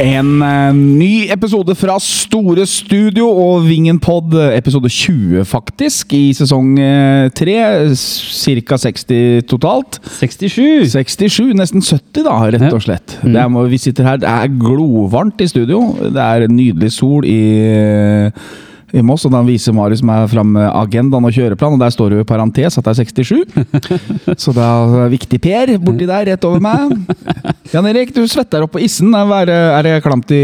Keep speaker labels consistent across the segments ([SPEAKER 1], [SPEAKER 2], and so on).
[SPEAKER 1] En eh, ny episode fra Store Studio og Vingenpod, eh, episode 20 faktisk, i sesong 3. Cirka 60 totalt.
[SPEAKER 2] 67!
[SPEAKER 1] 67, nesten 70 da, rett
[SPEAKER 2] Ja.
[SPEAKER 1] og slett. Det er, vi sitter her, det er glovarmt i studio. Det er nydelig sol i, i Moss, og da viser Marius meg fram agendaen og kjøreplan, og der står det jo i parentes at det er 67. Så det er viktig Per borti der, rett over meg. Jan Erik, du svetter opp på issen. Er det, er det klamt i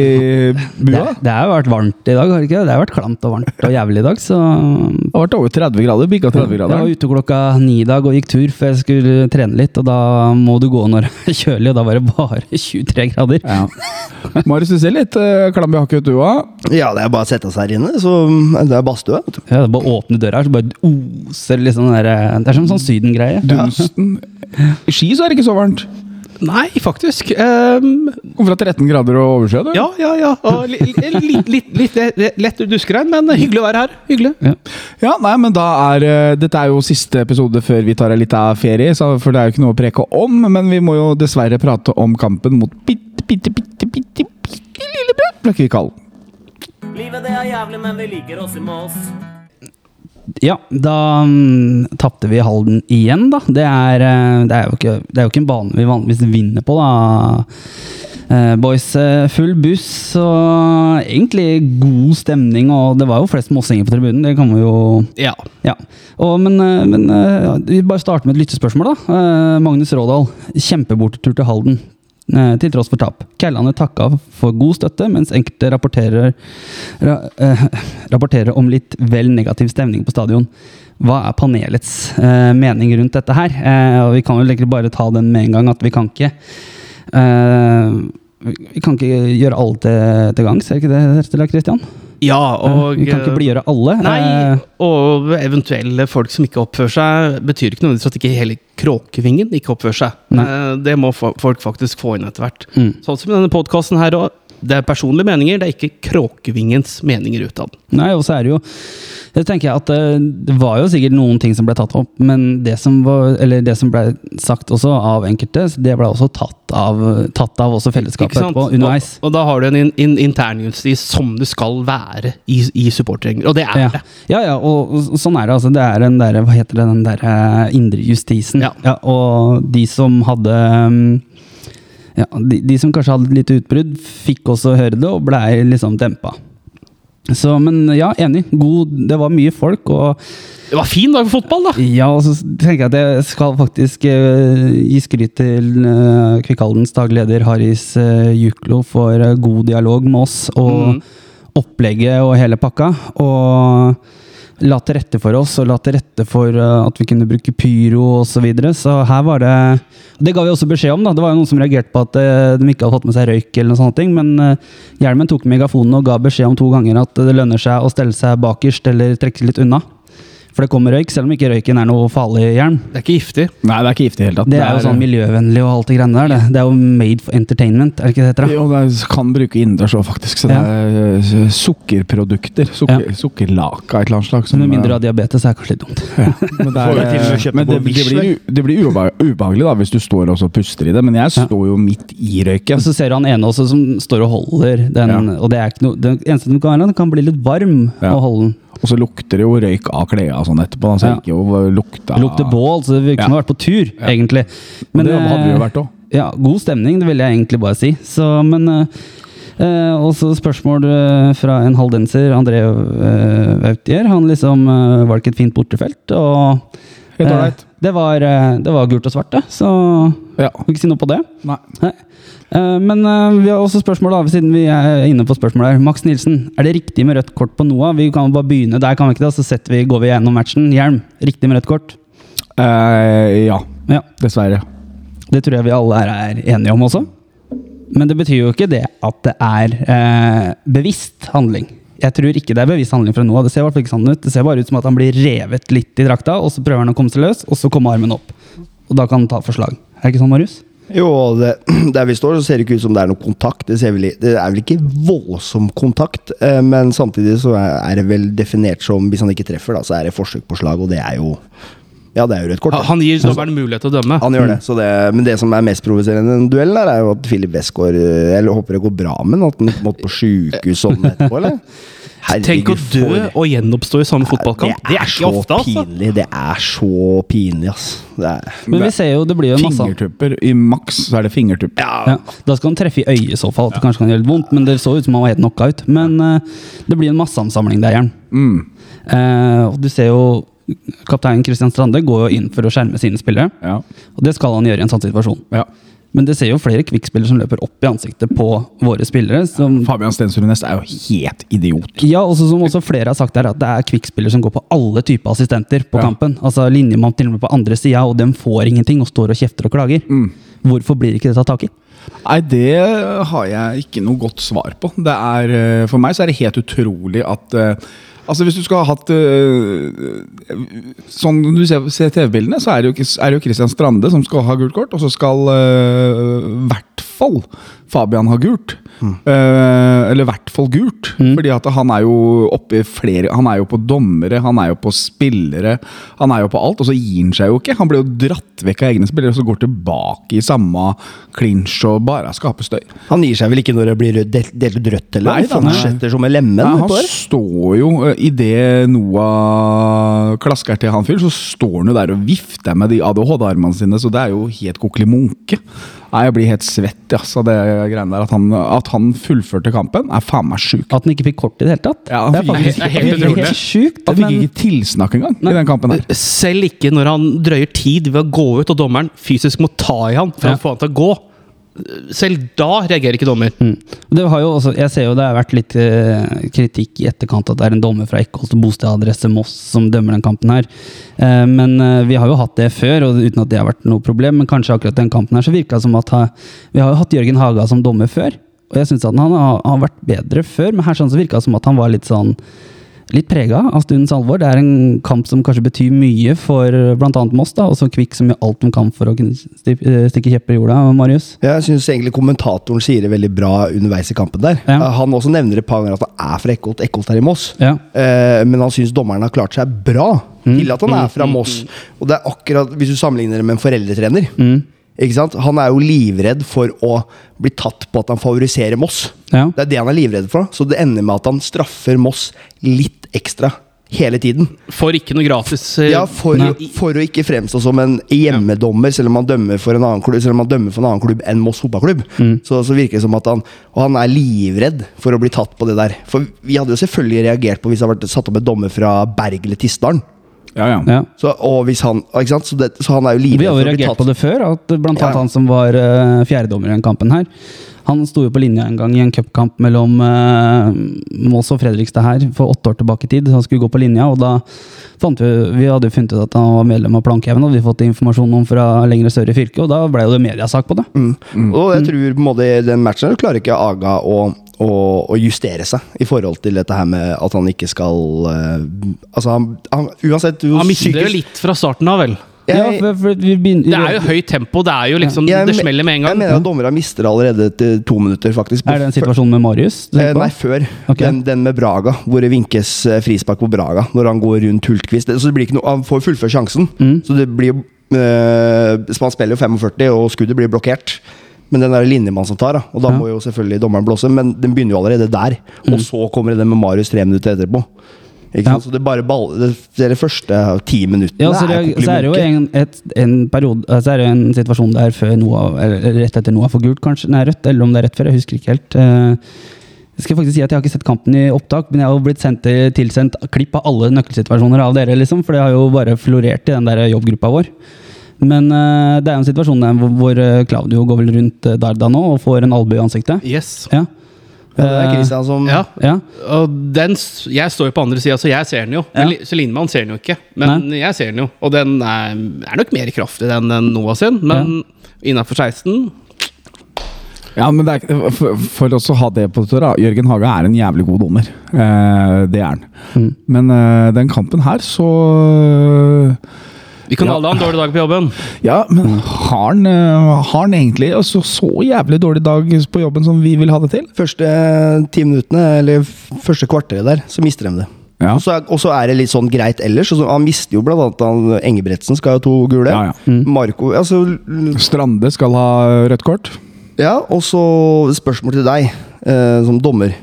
[SPEAKER 2] Det,
[SPEAKER 1] bua?
[SPEAKER 2] det har jo vært varmt i dag, har det ikke? det? Det har vært klamt og varmt og jævlig i dag, så
[SPEAKER 1] Det har vært over 30 grader, bikka 30
[SPEAKER 2] Jeg var
[SPEAKER 1] grader.
[SPEAKER 2] ute klokka ni i dag og gikk tur før jeg skulle trene litt, og da må du gå når det er kjølig, og da var det bare 23 grader.
[SPEAKER 1] Ja. Marius, du ser litt eh, klam i hakket ut, du òg.
[SPEAKER 3] Ja, det er bare å sette seg her inne, så det er badstue. vet du.
[SPEAKER 2] Ja, det er bare å åpne døra her, så bare oser liksom den der Det er som en sånn Syden-greie.
[SPEAKER 1] Dunsten. I Ski så er det ikke så varmt.
[SPEAKER 4] Nei, faktisk. Ehm,
[SPEAKER 1] Kom fra 13 grader og overskyet, du?
[SPEAKER 4] ja, ja, ja. Og li, li, litt, litt, litt le- lett duskregn, men hyggelig å være her. Hyggelig.
[SPEAKER 1] Ja, nei, men da er eh, Dette er jo siste episode før vi tar en liten ferie, så, for det er jo ikke noe å preke om. Men vi må jo dessverre prate om kampen mot bitte, bitte, bitte, bitte, bitte lillebror Bløkkvikal.
[SPEAKER 5] Livet det er jævlig, men vi liker oss i Mås.
[SPEAKER 2] Ja, da mm, tapte vi Halden igjen, da. Det er, eh, det, er jo ikke, det er jo ikke en bane vi vanligvis vinner på, da. Eh, Boys eh, full buss og egentlig god stemning, og det var jo flest mossinger på tribunen. Det kan vi jo
[SPEAKER 4] Ja.
[SPEAKER 2] Ja. Og, men eh, men eh, vi bare starter med et lyttespørsmål, da. Eh, Magnus Rådal. Kjempebortetur til Halden. eh, Til tross for tap. Kællane takka for god støtte, mens enkelte rapporterer, ra, eh, rapporterer om litt vel negativ stemning på stadion. Hva er panelets eh, mening rundt dette her? Eh, og vi kan vel egentlig bare ta den med en gang, at vi kan ikke eh, vi vi kan ikke gjøre alle til, til gangs, er ikke det rett eller Christian? Eh,
[SPEAKER 4] ja og eh,
[SPEAKER 2] vi kan ikke blidgjøre alle.
[SPEAKER 4] Nei,
[SPEAKER 2] eh,
[SPEAKER 4] og eventuelle folk som ikke oppfører seg, betyr ikke nødvendigvis at ikke hele Kråkevingen ikke oppfører seg.
[SPEAKER 2] Nei.
[SPEAKER 4] Eh, Det må fo- folk faktisk få inn etter hvert.
[SPEAKER 2] mm.
[SPEAKER 4] Sånn som i denne podkasten her òg. Det er personlige meninger, det er ikke Kråkevingens meninger utad.
[SPEAKER 2] Nei, og så er det jo Det tenker jeg at eh, det var jo sikkert noen ting som ble tatt opp, men det som, var, eller det som ble sagt også av enkelte, det ble også tatt av, tatt av også fellesskapet
[SPEAKER 4] Ikke sant?
[SPEAKER 2] etterpå, underveis.
[SPEAKER 4] Og, og da har du en in, in, internjustis som det skal være i, i supportergjenger, og det er
[SPEAKER 2] Ja.
[SPEAKER 4] det.
[SPEAKER 2] ja, ja, og og sånn er det. altså. Det er den der, hva heter det, den der eh, indre justisen.
[SPEAKER 4] Ja.
[SPEAKER 2] og de som hadde mm, ja, de, de som kanskje hadde et lite utbrudd, fikk også høre det og blei liksom dempa. Så, men ja, enig. God, det var mye folk, og
[SPEAKER 4] Det var fin dag for fotball, da!
[SPEAKER 2] ja, og så tenker jeg at jeg skal faktisk eh, gi skryt til uh, Kvikkhaldens dagleder Haris eh, Juklo for eh, god dialog med oss og opplegget og hele pakka. Og la til rette for oss, og la til rette for eh, at vi kunne bruke pyro osv. Så, videre. så her var det Det ga vi også beskjed om, da. Det var jo noen som reagerte på at eh, de ikke hadde fått med seg røyk eller noen sånne ting, men eh, hjelmen tok megafonen og ga beskjed om to ganger at det lønner seg å stelle seg bakerst eller trekke seg litt unna. For det kommer røyk, selv om ikke røyken er noe farlig jern.
[SPEAKER 4] Det er ikke giftig.
[SPEAKER 1] Nei, det er ikke giftig i det hele tatt.
[SPEAKER 2] Det er jo sånn miljøvennlig og alt det greiene der. Det, det er jo made for entertainment, er det ikke det det heter?
[SPEAKER 1] eh,
[SPEAKER 2] da?
[SPEAKER 1] Jo, det er- kan bruke innendørs òg, faktisk. Så det
[SPEAKER 2] Ja.
[SPEAKER 1] er eh, sukkerprodukter. Sukker, Sukkerlaka av et eller annet slag. som,
[SPEAKER 2] Så Med mindre du
[SPEAKER 1] eh,
[SPEAKER 2] har diabetes, er det kanskje litt dumt.
[SPEAKER 1] Men, det,
[SPEAKER 3] Får vi til og med
[SPEAKER 1] er,
[SPEAKER 3] kjøpe
[SPEAKER 1] men
[SPEAKER 3] på
[SPEAKER 1] det, det
[SPEAKER 3] Wish,
[SPEAKER 1] blir, u- det blir ubeha- ubehagelig da, hvis du står og så puster i det. Men jeg står jo midt i røyken.
[SPEAKER 2] Og så ser du han ene også som står og holder den,
[SPEAKER 1] Ja.
[SPEAKER 2] og det er ikke noe Det eneste du kan gjøre, er at den kan bli litt varm
[SPEAKER 1] Ja.
[SPEAKER 2] å holde den.
[SPEAKER 1] Og så lukter det jo røyk av klærne sånn etterpå. da, Så
[SPEAKER 2] Ja.
[SPEAKER 1] jeg gikk jo lukta
[SPEAKER 2] Det lukter bål, så det virker
[SPEAKER 1] Ja.
[SPEAKER 2] som du har vært på tur, egentlig.
[SPEAKER 1] Men det hadde vi jo
[SPEAKER 2] eh,
[SPEAKER 1] vært òg.
[SPEAKER 2] Ja, god stemning, det vil jeg egentlig bare si. Så, men eh, eh, også spørsmål eh, fra en haldenser, André eh, Vautier. Han liksom eh, var det ikke et fint bortefelt. Og,
[SPEAKER 1] Helt
[SPEAKER 2] eh,
[SPEAKER 1] ålreit.
[SPEAKER 2] det, var, eh, det var gult og svart, det. Så
[SPEAKER 1] Ja.
[SPEAKER 2] kan ikke si noe på det.
[SPEAKER 1] Nei.
[SPEAKER 2] Nei. Eh, men eh, vi har også spørsmål, da, siden vi er inne på spørsmålet her. Max Nilsen, er det riktig med rødt kort på Noah? Vi kan bare begynne der, kan vi ikke det? Så setter vi, går vi gjennom matchen. Hjelm, riktig med rødt kort?
[SPEAKER 1] Eh, ja,
[SPEAKER 2] Ja.
[SPEAKER 1] dessverre.
[SPEAKER 2] Det tror jeg vi alle her er enige om også. Men det betyr jo ikke det at det er eh, bevisst handling. Jeg tror ikke det er bevisst handling fra noe. av. Det ser i hvert fall ikke sånn ut. Det ser bare ut som at han blir revet litt i drakta, og så prøver han å komme seg løs, og så kommer armen opp. Og da kan han ta forslag. Er det ikke sånn, Marius?
[SPEAKER 3] Jo, og det, der vi står, så ser det ikke ut som det er noe kontakt. Det, ser vel, i- det er vel ikke voldsom kontakt, eh, men samtidig så er er det vel definert som Hvis han ikke treffer, da, så er det forsøk på slag, og det er jo Ja, det er jo rødt kort.
[SPEAKER 4] Ha-
[SPEAKER 3] det.
[SPEAKER 4] Han gir dommeren mulighet til å dømme.
[SPEAKER 3] Altså, Han gjør det. Så det. Men det som er mest provoserende i den duellen, her, er jo at Philip Westgård eh, Jeg håper det går bra med ham, at han ikke måtte på sjukehus sånn etterpå, eller?
[SPEAKER 4] Tenk å dø
[SPEAKER 3] for-
[SPEAKER 4] og gjenoppstå i samme fotballkamp. Det er ikke
[SPEAKER 3] så
[SPEAKER 4] ofte, altså.
[SPEAKER 3] pinlig. Det er så pinlig, ass. Det er,
[SPEAKER 2] Men vi ser jo det blir jo en masse
[SPEAKER 1] Fingertupper. I maks så er det fingertupper.
[SPEAKER 2] ja, Da skal han treffe i øyet i så fall. At det kanskje kan gjøre litt vondt, men det så ut som han var helt knockout. Men eh, det blir en masseansamling der, Jern.
[SPEAKER 3] Mm.
[SPEAKER 2] Eh, og du ser jo kaptein Kristian Strande går jo inn for å skjerme sine spillere.
[SPEAKER 1] Ja.
[SPEAKER 2] Og det skal han gjøre i en sånn situasjon.
[SPEAKER 1] ja.
[SPEAKER 2] Men det ser jo flere kvikkspillere som løper opp i ansiktet på våre spillere. Som,
[SPEAKER 1] Fabian Stensrud Næss er jo helt idiot.
[SPEAKER 2] ja, også, som også flere har sagt her, at det er kvikkspillere som går på alle typer assistenter på
[SPEAKER 1] Ja.
[SPEAKER 2] kampen. Altså Linjemann til og med på andre sida, og dem får ingenting og står og kjefter og klager.
[SPEAKER 1] Mm.
[SPEAKER 2] Hvorfor blir ikke det tatt tak i?
[SPEAKER 1] Nei, det har jeg ikke noe godt svar på. Det er, eh, for meg så er det helt utrolig at eh, Altså Hvis du skal ha hatt eh, Sånn du ser, ser TV-bildene, så er det, jo, ikke- er det jo Christian Strande som skal ha gult kort, og så skal eh, i hvert fall Fabian ha gult. Eh, eller i hvert fall gult. Fordi at han er jo oppe i flere Han er jo på dommere, han er jo på spillere, han er jo på alt. Og så gir han seg jo ikke. Han blir jo dratt vekk av egne spillere og så går tilbake i samme klinsj og bare skaper støy.
[SPEAKER 3] han gir seg vel ikke når det blir rød, delt, delt ut rødt, eller?
[SPEAKER 1] Nei, da,
[SPEAKER 3] han
[SPEAKER 1] nei.
[SPEAKER 3] fortsetter som en lemen.
[SPEAKER 1] Nei,
[SPEAKER 3] vet du
[SPEAKER 1] han
[SPEAKER 3] hva?
[SPEAKER 1] står jo Idet Noah klasker til han fyren, så står han jo der og vifter med de ADHD-armene sine, så det er jo helt kokkelig munke. Nei, jeg blir helt svett, altså, det greiene der. At han, at han fullførte kampen, er faen meg sjukt.
[SPEAKER 2] At han ikke fikk kort i det hele tatt?
[SPEAKER 1] Ja, han
[SPEAKER 2] det er
[SPEAKER 1] fikk-
[SPEAKER 2] faktisk
[SPEAKER 4] det er helt utrolig.
[SPEAKER 2] helt sjukt.
[SPEAKER 1] Han fikk
[SPEAKER 2] men-
[SPEAKER 1] ikke tilsnakk engang i den kampen her.
[SPEAKER 4] Selv ikke når han drøyer tid ved å gå ut, og dommeren fysisk må ta i han for
[SPEAKER 2] Ja.
[SPEAKER 4] å få han til å gå. Selv da reagerer ikke dommer.
[SPEAKER 3] Mm.
[SPEAKER 2] Det har jo også, jeg ser jo det har vært litt eh, kritikk i etterkant at det er en dommer fra Ekkholt bostedadresse Moss som dømmer den kampen her. Eh, men eh, vi har jo hatt det før, og uten at det har vært noe problem. Men kanskje akkurat den kampen her så virka det som at ha, vi har jo hatt Jørgen Haga som dommer før. Og jeg syns han har, har vært bedre før, men her sånn så virka det som at han var litt sånn Litt prega av stundens alvor. Det er en kamp som kanskje betyr mye for bl.a. Moss, da, og så Kvikk som gjør alt de kan for å kunne sti- eh, stikke kjepper i jorda, Marius.
[SPEAKER 3] Jeg syns egentlig kommentatoren sier det veldig bra underveis i kampen der.
[SPEAKER 2] Ja.
[SPEAKER 3] Eh, Han også nevner et par ganger at han er fra Ekkholt. Ekkholt er i Moss.
[SPEAKER 2] Ja.
[SPEAKER 3] Eh, men han syns dommeren har klart seg bra
[SPEAKER 1] Mm.
[SPEAKER 3] til at han er fra Moss. Og det er akkurat hvis du sammenligner det med en foreldretrener.
[SPEAKER 1] Mm.
[SPEAKER 3] Ikke sant? Han er jo livredd for å bli tatt på at han favoriserer Moss.
[SPEAKER 2] Ja.
[SPEAKER 3] Det er det han er livredd for. Så det ender med at han straffer Moss litt ekstra hele tiden.
[SPEAKER 4] Får ikke noe gratis. eh,
[SPEAKER 3] Ja, for, for å ikke fremstå som en hjemmedommer, selv om han dømmer for en annen klubb, selv om han dømmer for en annen klubb enn Moss fotballklubb.
[SPEAKER 2] Mm.
[SPEAKER 3] Så, så virker det som at han Og han er livredd for å bli tatt på det der. For vi hadde jo selvfølgelig reagert på hvis det hadde vært satt opp en dommer fra Berg eller Tistdalen.
[SPEAKER 1] Ja, ja.
[SPEAKER 2] Ja.
[SPEAKER 3] Så, og hvis han, ikke sant? Så, det, så han er jo
[SPEAKER 2] Vi
[SPEAKER 3] livredd
[SPEAKER 2] har jo
[SPEAKER 3] for å bli
[SPEAKER 2] reagert
[SPEAKER 3] tatt
[SPEAKER 2] på det før, at blant annet
[SPEAKER 3] Ja.
[SPEAKER 2] han som var eh, fjerdedommer i den kampen her, han sto jo på linja en gang i en cupkamp mellom eh, Mås og Fredrikstad her for åtte år tilbake i tid. Han skulle gå på linja, og da fant vi Vi hadde jo funnet ut at han var medlem av Plankehaugen, hadde vi fått informasjon om fra lengre sør i fylket, og da ble jo det mediasak på det.
[SPEAKER 3] Mm. Og
[SPEAKER 2] Mm.
[SPEAKER 3] jeg tror på en måte i den matchen her klarer ikke Aga å, å, å justere seg i forhold til dette her med at han ikke skal eh, Altså, han, han Uansett hvor
[SPEAKER 4] Han mister det jo
[SPEAKER 3] psykisk-
[SPEAKER 4] litt fra starten av, vel.
[SPEAKER 3] Jeg-
[SPEAKER 2] ja, for, for vi begynner,
[SPEAKER 4] Det er jo høyt tempo. Det er jo liksom,
[SPEAKER 3] Jeg
[SPEAKER 4] det
[SPEAKER 3] me-
[SPEAKER 4] smeller med en
[SPEAKER 3] Jeg
[SPEAKER 4] gang.
[SPEAKER 3] mener at dommere mister allerede etter to minutter, faktisk.
[SPEAKER 2] er det en situasjon med Marius? du
[SPEAKER 3] Eh,
[SPEAKER 2] tenker på?
[SPEAKER 3] Nei, før.
[SPEAKER 2] Ok.
[SPEAKER 3] Den, den med Braga, hvor det vinkes eh, frispark på Braga når han går rundt Hultqvist. Det- Så det blir ikke noe, han får fullført sjansen.
[SPEAKER 2] Mm.
[SPEAKER 3] Så det blir eh, så Han spiller jo 45, og skuddet blir blokkert. Men den er det linjemann som tar, da. og da
[SPEAKER 2] Ja. Mm.
[SPEAKER 3] må jo selvfølgelig dommeren blåse. Men den begynner jo allerede der. Og så kommer det den med Marius tre minutter etterpå. Ikke
[SPEAKER 2] Ja.
[SPEAKER 3] sant? Så det bare ball, det, det er de første ti minuttene.
[SPEAKER 2] Ja, så,
[SPEAKER 3] er
[SPEAKER 2] det,
[SPEAKER 3] kokkelig
[SPEAKER 2] så er det jo
[SPEAKER 3] munke.
[SPEAKER 2] en, et, en periode eh, Så er det jo en situasjon der før Noah, eller rett etter Noah får gult, kanskje. Nei, rødt, eller om det er rett før. Jeg husker ikke helt. Eh, Jeg skal faktisk si at jeg har ikke sett kampen i opptak, men jeg har jo blitt sendt, eh, tilsendt klipp av alle nøkkelsituasjoner av dere, liksom. For det har jo bare florert i den der jobbgruppa vår. Men eh, det er jo en situasjon der hvor, hvor eh, Claudio går vel rundt eh, Darda nå og får en albue i ansiktet.
[SPEAKER 4] Yes.
[SPEAKER 2] Ja.
[SPEAKER 3] Ja, Det er Christian som
[SPEAKER 4] Ja.
[SPEAKER 2] Ja.
[SPEAKER 4] Og den, s- jeg står jo på andre sida, så jeg ser den jo. Men Li- Så Lindmann ser den jo ikke. Men jeg ser den jo. Og den er, er nok mer kraftig enn den Noah sin, men innafor 16
[SPEAKER 1] Ja, men det er, for, for oss å ha det på tørra, Jørgen Haga er en jævlig god dommer. Eh, det er han. Men eh, den kampen her, så
[SPEAKER 4] Vi kan
[SPEAKER 1] Ja.
[SPEAKER 4] alle ha en dårlig dag på jobben.
[SPEAKER 1] Ja, men har han, eh, har han egentlig altså, så jævlig dårlig dag på jobben som vi vil ha det til?
[SPEAKER 3] eh, Første ti minuttene, eller f- første kvarteret der, så mister de det.
[SPEAKER 1] Ja.
[SPEAKER 3] Og, så er, og så er det litt sånn greit ellers. Og så, han mister jo blant annet han, Engebretsen skal ha to gule.
[SPEAKER 1] Ja, ja.
[SPEAKER 3] Marco altså, l-
[SPEAKER 1] Strande skal ha rødt kort.
[SPEAKER 3] Ja, og så spørsmål til deg eh, som dommer.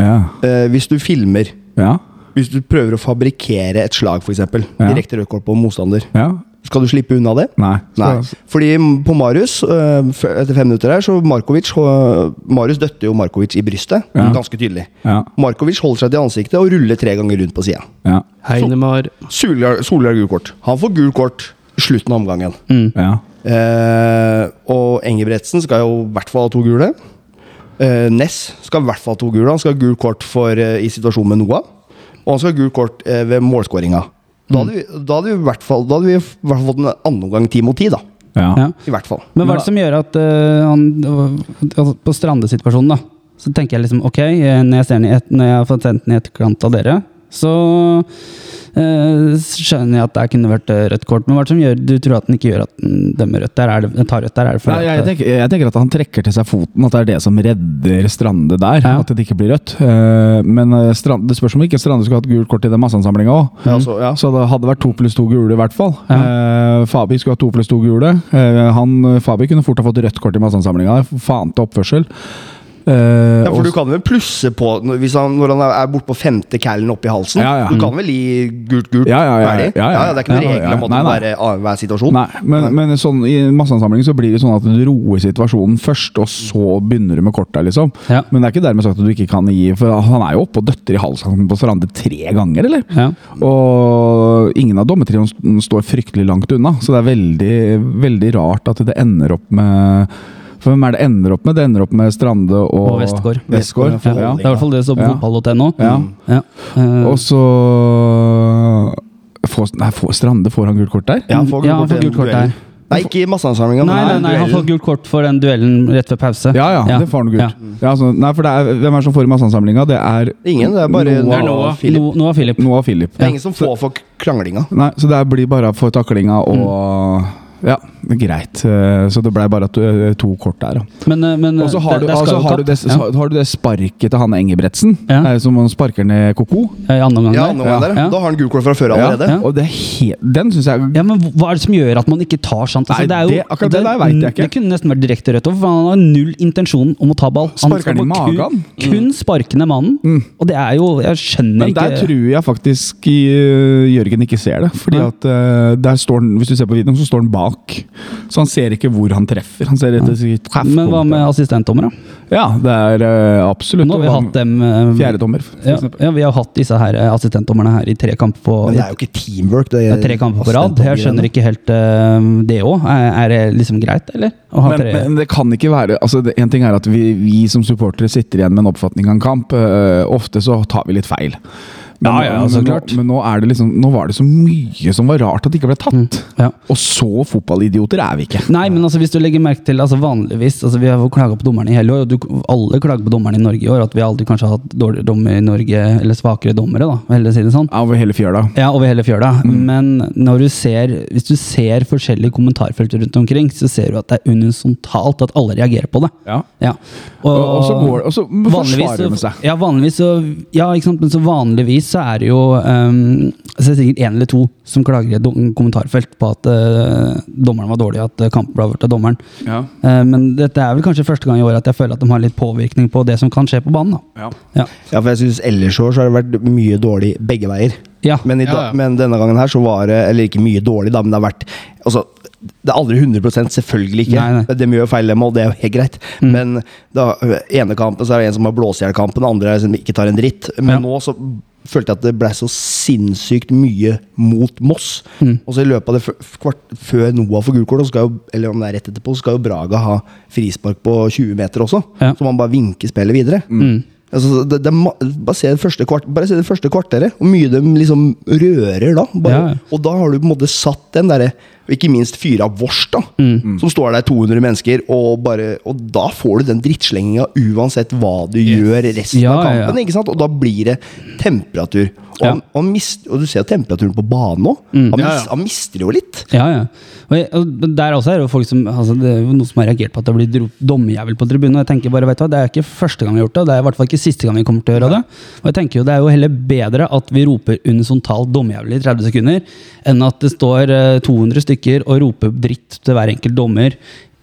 [SPEAKER 1] Ja.
[SPEAKER 3] Eh, hvis du filmer
[SPEAKER 1] Ja.
[SPEAKER 3] Hvis du prøver å fabrikkere et slag, f.eks. eksempel
[SPEAKER 1] Ja.
[SPEAKER 3] Direkte rødt kort på motstander.
[SPEAKER 1] ja.
[SPEAKER 3] Skal du slippe unna det?
[SPEAKER 1] Nei.
[SPEAKER 3] Nei. Fordi på Marius, øh, f- etter fem minutter her, så Markovic øh, Marius døtter jo Markovic i brystet.
[SPEAKER 1] Ja.
[SPEAKER 3] Ganske tydelig.
[SPEAKER 1] Ja.
[SPEAKER 3] Markovic holder seg til ansiktet og ruller tre ganger rundt på sida.
[SPEAKER 1] Ja.
[SPEAKER 4] Heinemar
[SPEAKER 3] Solhjell Solhjell gult kort. Han får gult kort i slutten av omgangen.
[SPEAKER 1] ja.
[SPEAKER 3] Eh, og Engebretsen skal jo i hvert fall ha to gule. Eh, Ness skal i hvert fall ha to gule. Han skal ha gult kort for, eh, i situasjonen med Noah. Og han skal ha gult kort eh, ved målskåringa. Da hadde vi, da hadde vi i hvert fall, da hadde vi i hvert fall fått en annen omgang ti mot ti, da.
[SPEAKER 1] ja.
[SPEAKER 2] Ja.
[SPEAKER 3] I hvert fall.
[SPEAKER 2] Men hva er det som gjør at eh, han altså, På Strande-situasjonen, da. Så tenker jeg liksom ok, eh, når jeg, ser den i et, når jeg har fått sendt den i etterkant av dere, så eh, skjønner jeg at det kunne vært eh, rødt kort. Men hva er det som gjør du tror at den ikke gjør at den dømmer rødt der? Er det, den tar rødt eh. der? Er det for
[SPEAKER 1] Nei,
[SPEAKER 2] at-
[SPEAKER 1] jeg, tenker, jeg tenker at han trekker til seg foten, at det er det som redder Strande der.
[SPEAKER 2] Ja.
[SPEAKER 1] At det ikke blir rødt. Eh, Men eh, Strand, det spørs om ikke Strande skulle hatt gult kort i den masseansamlinga òg.
[SPEAKER 3] Ja, så, ja.
[SPEAKER 1] Så Altså, det hadde vært to pluss to gule, i hvert fall. Eh, Fabi skulle ha to pluss to gule. Eh, han, Fabi kunne fort ha fått rødt kort i masseansamlinga. Det er Faen til oppførsel. Eh,
[SPEAKER 3] Ja, for
[SPEAKER 1] og-
[SPEAKER 3] du kan vel plusse på når- hvis han, når han er- er borte på femte callen oppi halsen.
[SPEAKER 1] Ja, ja.
[SPEAKER 3] Du kan vel gi gult, gult?
[SPEAKER 1] Ja, ja, ja,
[SPEAKER 3] ferdig?
[SPEAKER 1] ja, ja.
[SPEAKER 3] Det er ikke noen
[SPEAKER 1] Ja, ja,
[SPEAKER 3] regler om
[SPEAKER 1] ja.
[SPEAKER 3] at det må
[SPEAKER 1] Nei, nei.
[SPEAKER 3] være annenhver situasjon.
[SPEAKER 1] Nei, men, men sånn, i masseansamling så blir det sånn at du roer situasjonen først, og så begynner du med korta, liksom.
[SPEAKER 2] Ja.
[SPEAKER 1] Men det er ikke dermed sagt at du ikke kan gi For han er jo oppe og døtter i halsen på Strande tre ganger, eller?
[SPEAKER 2] Ja.
[SPEAKER 1] Og ingen av dommertrioen st- står fryktelig langt unna, så det er veldig, veldig rart at det ender opp med For hvem er det ender opp med? Det ender opp med Strande og,
[SPEAKER 2] Og Westgård.
[SPEAKER 1] Westgård,
[SPEAKER 3] Westgård,
[SPEAKER 1] ja.
[SPEAKER 2] Ja, det er i hvert fall det som står på
[SPEAKER 1] Ja.
[SPEAKER 2] fotball.no.
[SPEAKER 1] Ja.
[SPEAKER 2] Ja. Eh,
[SPEAKER 1] Og så får, Nei, får Strande får han gult kort der?
[SPEAKER 3] Ja, han får gult
[SPEAKER 2] Ja, han
[SPEAKER 3] kort i
[SPEAKER 2] får
[SPEAKER 3] den
[SPEAKER 2] gult kort
[SPEAKER 3] duellen.
[SPEAKER 2] der.
[SPEAKER 3] Nei, ikke i masseansamlinga.
[SPEAKER 2] nei, nei, nei, han får gult kort for den duellen rett før pause.
[SPEAKER 1] Ja, ja, det får han gult. Ja. altså, nei, for det er, hvem er det som får i masseansamlinga? Det er
[SPEAKER 3] Ingen, det er bare
[SPEAKER 1] Noah.
[SPEAKER 4] Det er Noah.
[SPEAKER 3] Philip.
[SPEAKER 2] No, Noah Philip.
[SPEAKER 1] Noah og Philip.
[SPEAKER 3] Det er ingen som får for kranglinga.
[SPEAKER 1] Nei, så det blir bare for taklinga og Mm. Ja, greit. Eh, Så det blei bare at du- to kort der, da.
[SPEAKER 2] Men, eh, men
[SPEAKER 1] Og så har,
[SPEAKER 2] det-
[SPEAKER 1] du,
[SPEAKER 2] det skal
[SPEAKER 1] altså,
[SPEAKER 2] jo
[SPEAKER 1] har, du
[SPEAKER 2] katt.
[SPEAKER 1] det, så har du det sparket til han Engebretsen,
[SPEAKER 2] Ja.
[SPEAKER 1] eh, som han sparker ned Koko.
[SPEAKER 2] ja. I andre omgang
[SPEAKER 3] Ja,
[SPEAKER 2] der.
[SPEAKER 3] andre
[SPEAKER 2] Ja.
[SPEAKER 3] gangen der.
[SPEAKER 2] Ja.
[SPEAKER 3] Da har han gult kort fra før allerede.
[SPEAKER 1] Ja. Og det er he den syns jeg
[SPEAKER 2] Ja, men hva er det som gjør at man ikke tar sant? Altså,
[SPEAKER 1] Nei, det- akkurat det der vet jeg ikke.
[SPEAKER 2] Det kunne nesten vært direkte rødt over, for han har null intensjon om å ta ball.
[SPEAKER 1] Sparker
[SPEAKER 2] skal
[SPEAKER 1] den i
[SPEAKER 2] bare
[SPEAKER 1] magen? Mm.
[SPEAKER 2] Kun, kun sparke ned mannen. Og det er jo Jeg skjønner
[SPEAKER 1] Men
[SPEAKER 2] ikke
[SPEAKER 1] der tror jeg faktisk eh, Jørgen ikke ser det. Fordi
[SPEAKER 2] Ja.
[SPEAKER 1] at eh, der står han, Hvis du ser på videoen, så står han bak. Så han ser ikke hvor han treffer. Han ser etter sitt
[SPEAKER 2] Men hva med assistentdommer, da?
[SPEAKER 1] Ja, det er eh, absolutt.
[SPEAKER 2] Nå har vi
[SPEAKER 1] Og hva-
[SPEAKER 2] hatt dem eh,
[SPEAKER 1] Fjerdedommer, for
[SPEAKER 2] Ja,
[SPEAKER 1] eksempel.
[SPEAKER 2] ja, vi har hatt disse her eh, assistentdommerne her i tre kamper på
[SPEAKER 3] Men det er jo ikke teamwork. Det
[SPEAKER 2] ja, tre kamper på rad. Jeg skjønner ikke helt eh, det òg. Er, er det liksom greit, eller? Å ha
[SPEAKER 1] Men,
[SPEAKER 2] tre
[SPEAKER 1] men det kan ikke være altså det, En ting er at vi, vi som supportere sitter igjen med en oppfatning av en kamp. øh, ofte så tar vi litt feil. Men,
[SPEAKER 2] Ja, ja, altså,
[SPEAKER 1] men,
[SPEAKER 2] klart.
[SPEAKER 1] nå, men nå, er det liksom, nå var det så mye som var rart at det ikke ble tatt.
[SPEAKER 2] Mm, ja.
[SPEAKER 1] Og så fotballidioter er vi ikke.
[SPEAKER 2] Nei, men altså, hvis du legger merke til altså vanligvis, altså Vi har jo klaga på dommerne i hele år, og du, alle klager på dommerne i Norge i år. At vi aldri kanskje har hatt dårligere dommer i Norge, eller svakere dommere, da. for heller å si det sånn.
[SPEAKER 1] Ja, Over hele fjøla.
[SPEAKER 2] Ja, over hele fjøla.
[SPEAKER 1] Mm.
[SPEAKER 2] Men når du ser, hvis du ser forskjellige kommentarfelter rundt omkring, så ser du at det er unisontalt at alle reagerer på det.
[SPEAKER 1] Ja.
[SPEAKER 2] Ja.
[SPEAKER 1] Og- og så går- og så forsvarer de
[SPEAKER 2] så,
[SPEAKER 1] seg.
[SPEAKER 2] ja, vanligvis så, ja, ikke sant? Men så vanligvis så er det jo ehm, så er det sikkert én eller to som klager i et do- kommentarfelt på at eh, dommeren var dårlig, at eh, kampen ble avgjort av dommeren.
[SPEAKER 1] Ja.
[SPEAKER 2] Eh, men dette er vel kanskje første gang i året at jeg føler at de har litt påvirkning på det som kan skje på banen. da.
[SPEAKER 1] Ja.
[SPEAKER 2] Ja.
[SPEAKER 3] Ja, for jeg synes ellers år så har det vært mye dårlig begge veier.
[SPEAKER 2] Ja.
[SPEAKER 3] Men, i
[SPEAKER 4] Ja,
[SPEAKER 3] dag-
[SPEAKER 4] ja.
[SPEAKER 3] men denne gangen her så var det Eller ikke mye dårlig, da, men det har vært altså, Det er aldri 100 selvfølgelig ikke.
[SPEAKER 2] Nei, Mm. nei.
[SPEAKER 3] De gjør feil, dem, og det er jo helt greit. Men da, ene kampen så er det en som har blåst i hjel kampen, den andre er som ikke tar en dritt. Men
[SPEAKER 2] Ja.
[SPEAKER 3] nå så følte jeg at det ble så sinnssykt mye mot Moss.
[SPEAKER 2] Mm.
[SPEAKER 3] Og så i løpet av det f- kvart før Noah får gult kort, så skal jo- eller om det er rett etterpå, så skal jo Braga ha frispark på 20 meter også.
[SPEAKER 2] Ja. Mm.
[SPEAKER 3] Så man bare vinker spillet videre. Altså, det, det, er ma- bare, se det første kvart, bare se det første kvarteret, hvor mye de liksom rører da. Bare,
[SPEAKER 2] Ja.
[SPEAKER 3] Og da har du på en måte satt den derre og ikke minst fyre av vårs, da.
[SPEAKER 2] Mm.
[SPEAKER 3] Som står der 200 mennesker, og, bare, og da får du den drittslenginga uansett hva du gjør resten
[SPEAKER 2] Ja,
[SPEAKER 3] av
[SPEAKER 2] ja, ja.
[SPEAKER 3] kampen. Ikke sant? Og da blir det temperatur. Og, han, han mist, og du ser jo temperaturen på banen òg. Han,
[SPEAKER 4] Ja,
[SPEAKER 3] mis-
[SPEAKER 4] ja.
[SPEAKER 3] han mister jo litt.
[SPEAKER 2] Ja, ja. Og jeg- Og der også er det jo folk som altså Det er jo noen som har reagert på at det blir dro- dommerjævel på tribunen. Og jeg tenker bare, vet du hva, Det er ikke første gang vi har gjort det, og det er i hvert fall ikke siste gang vi kommer til å gjøre det. Og jeg tenker jo Det er jo heller bedre at vi roper unisontalt dommerjævel i 30 sekunder, enn at det står eh, 200 stykker og roper dritt til hver enkelt dommer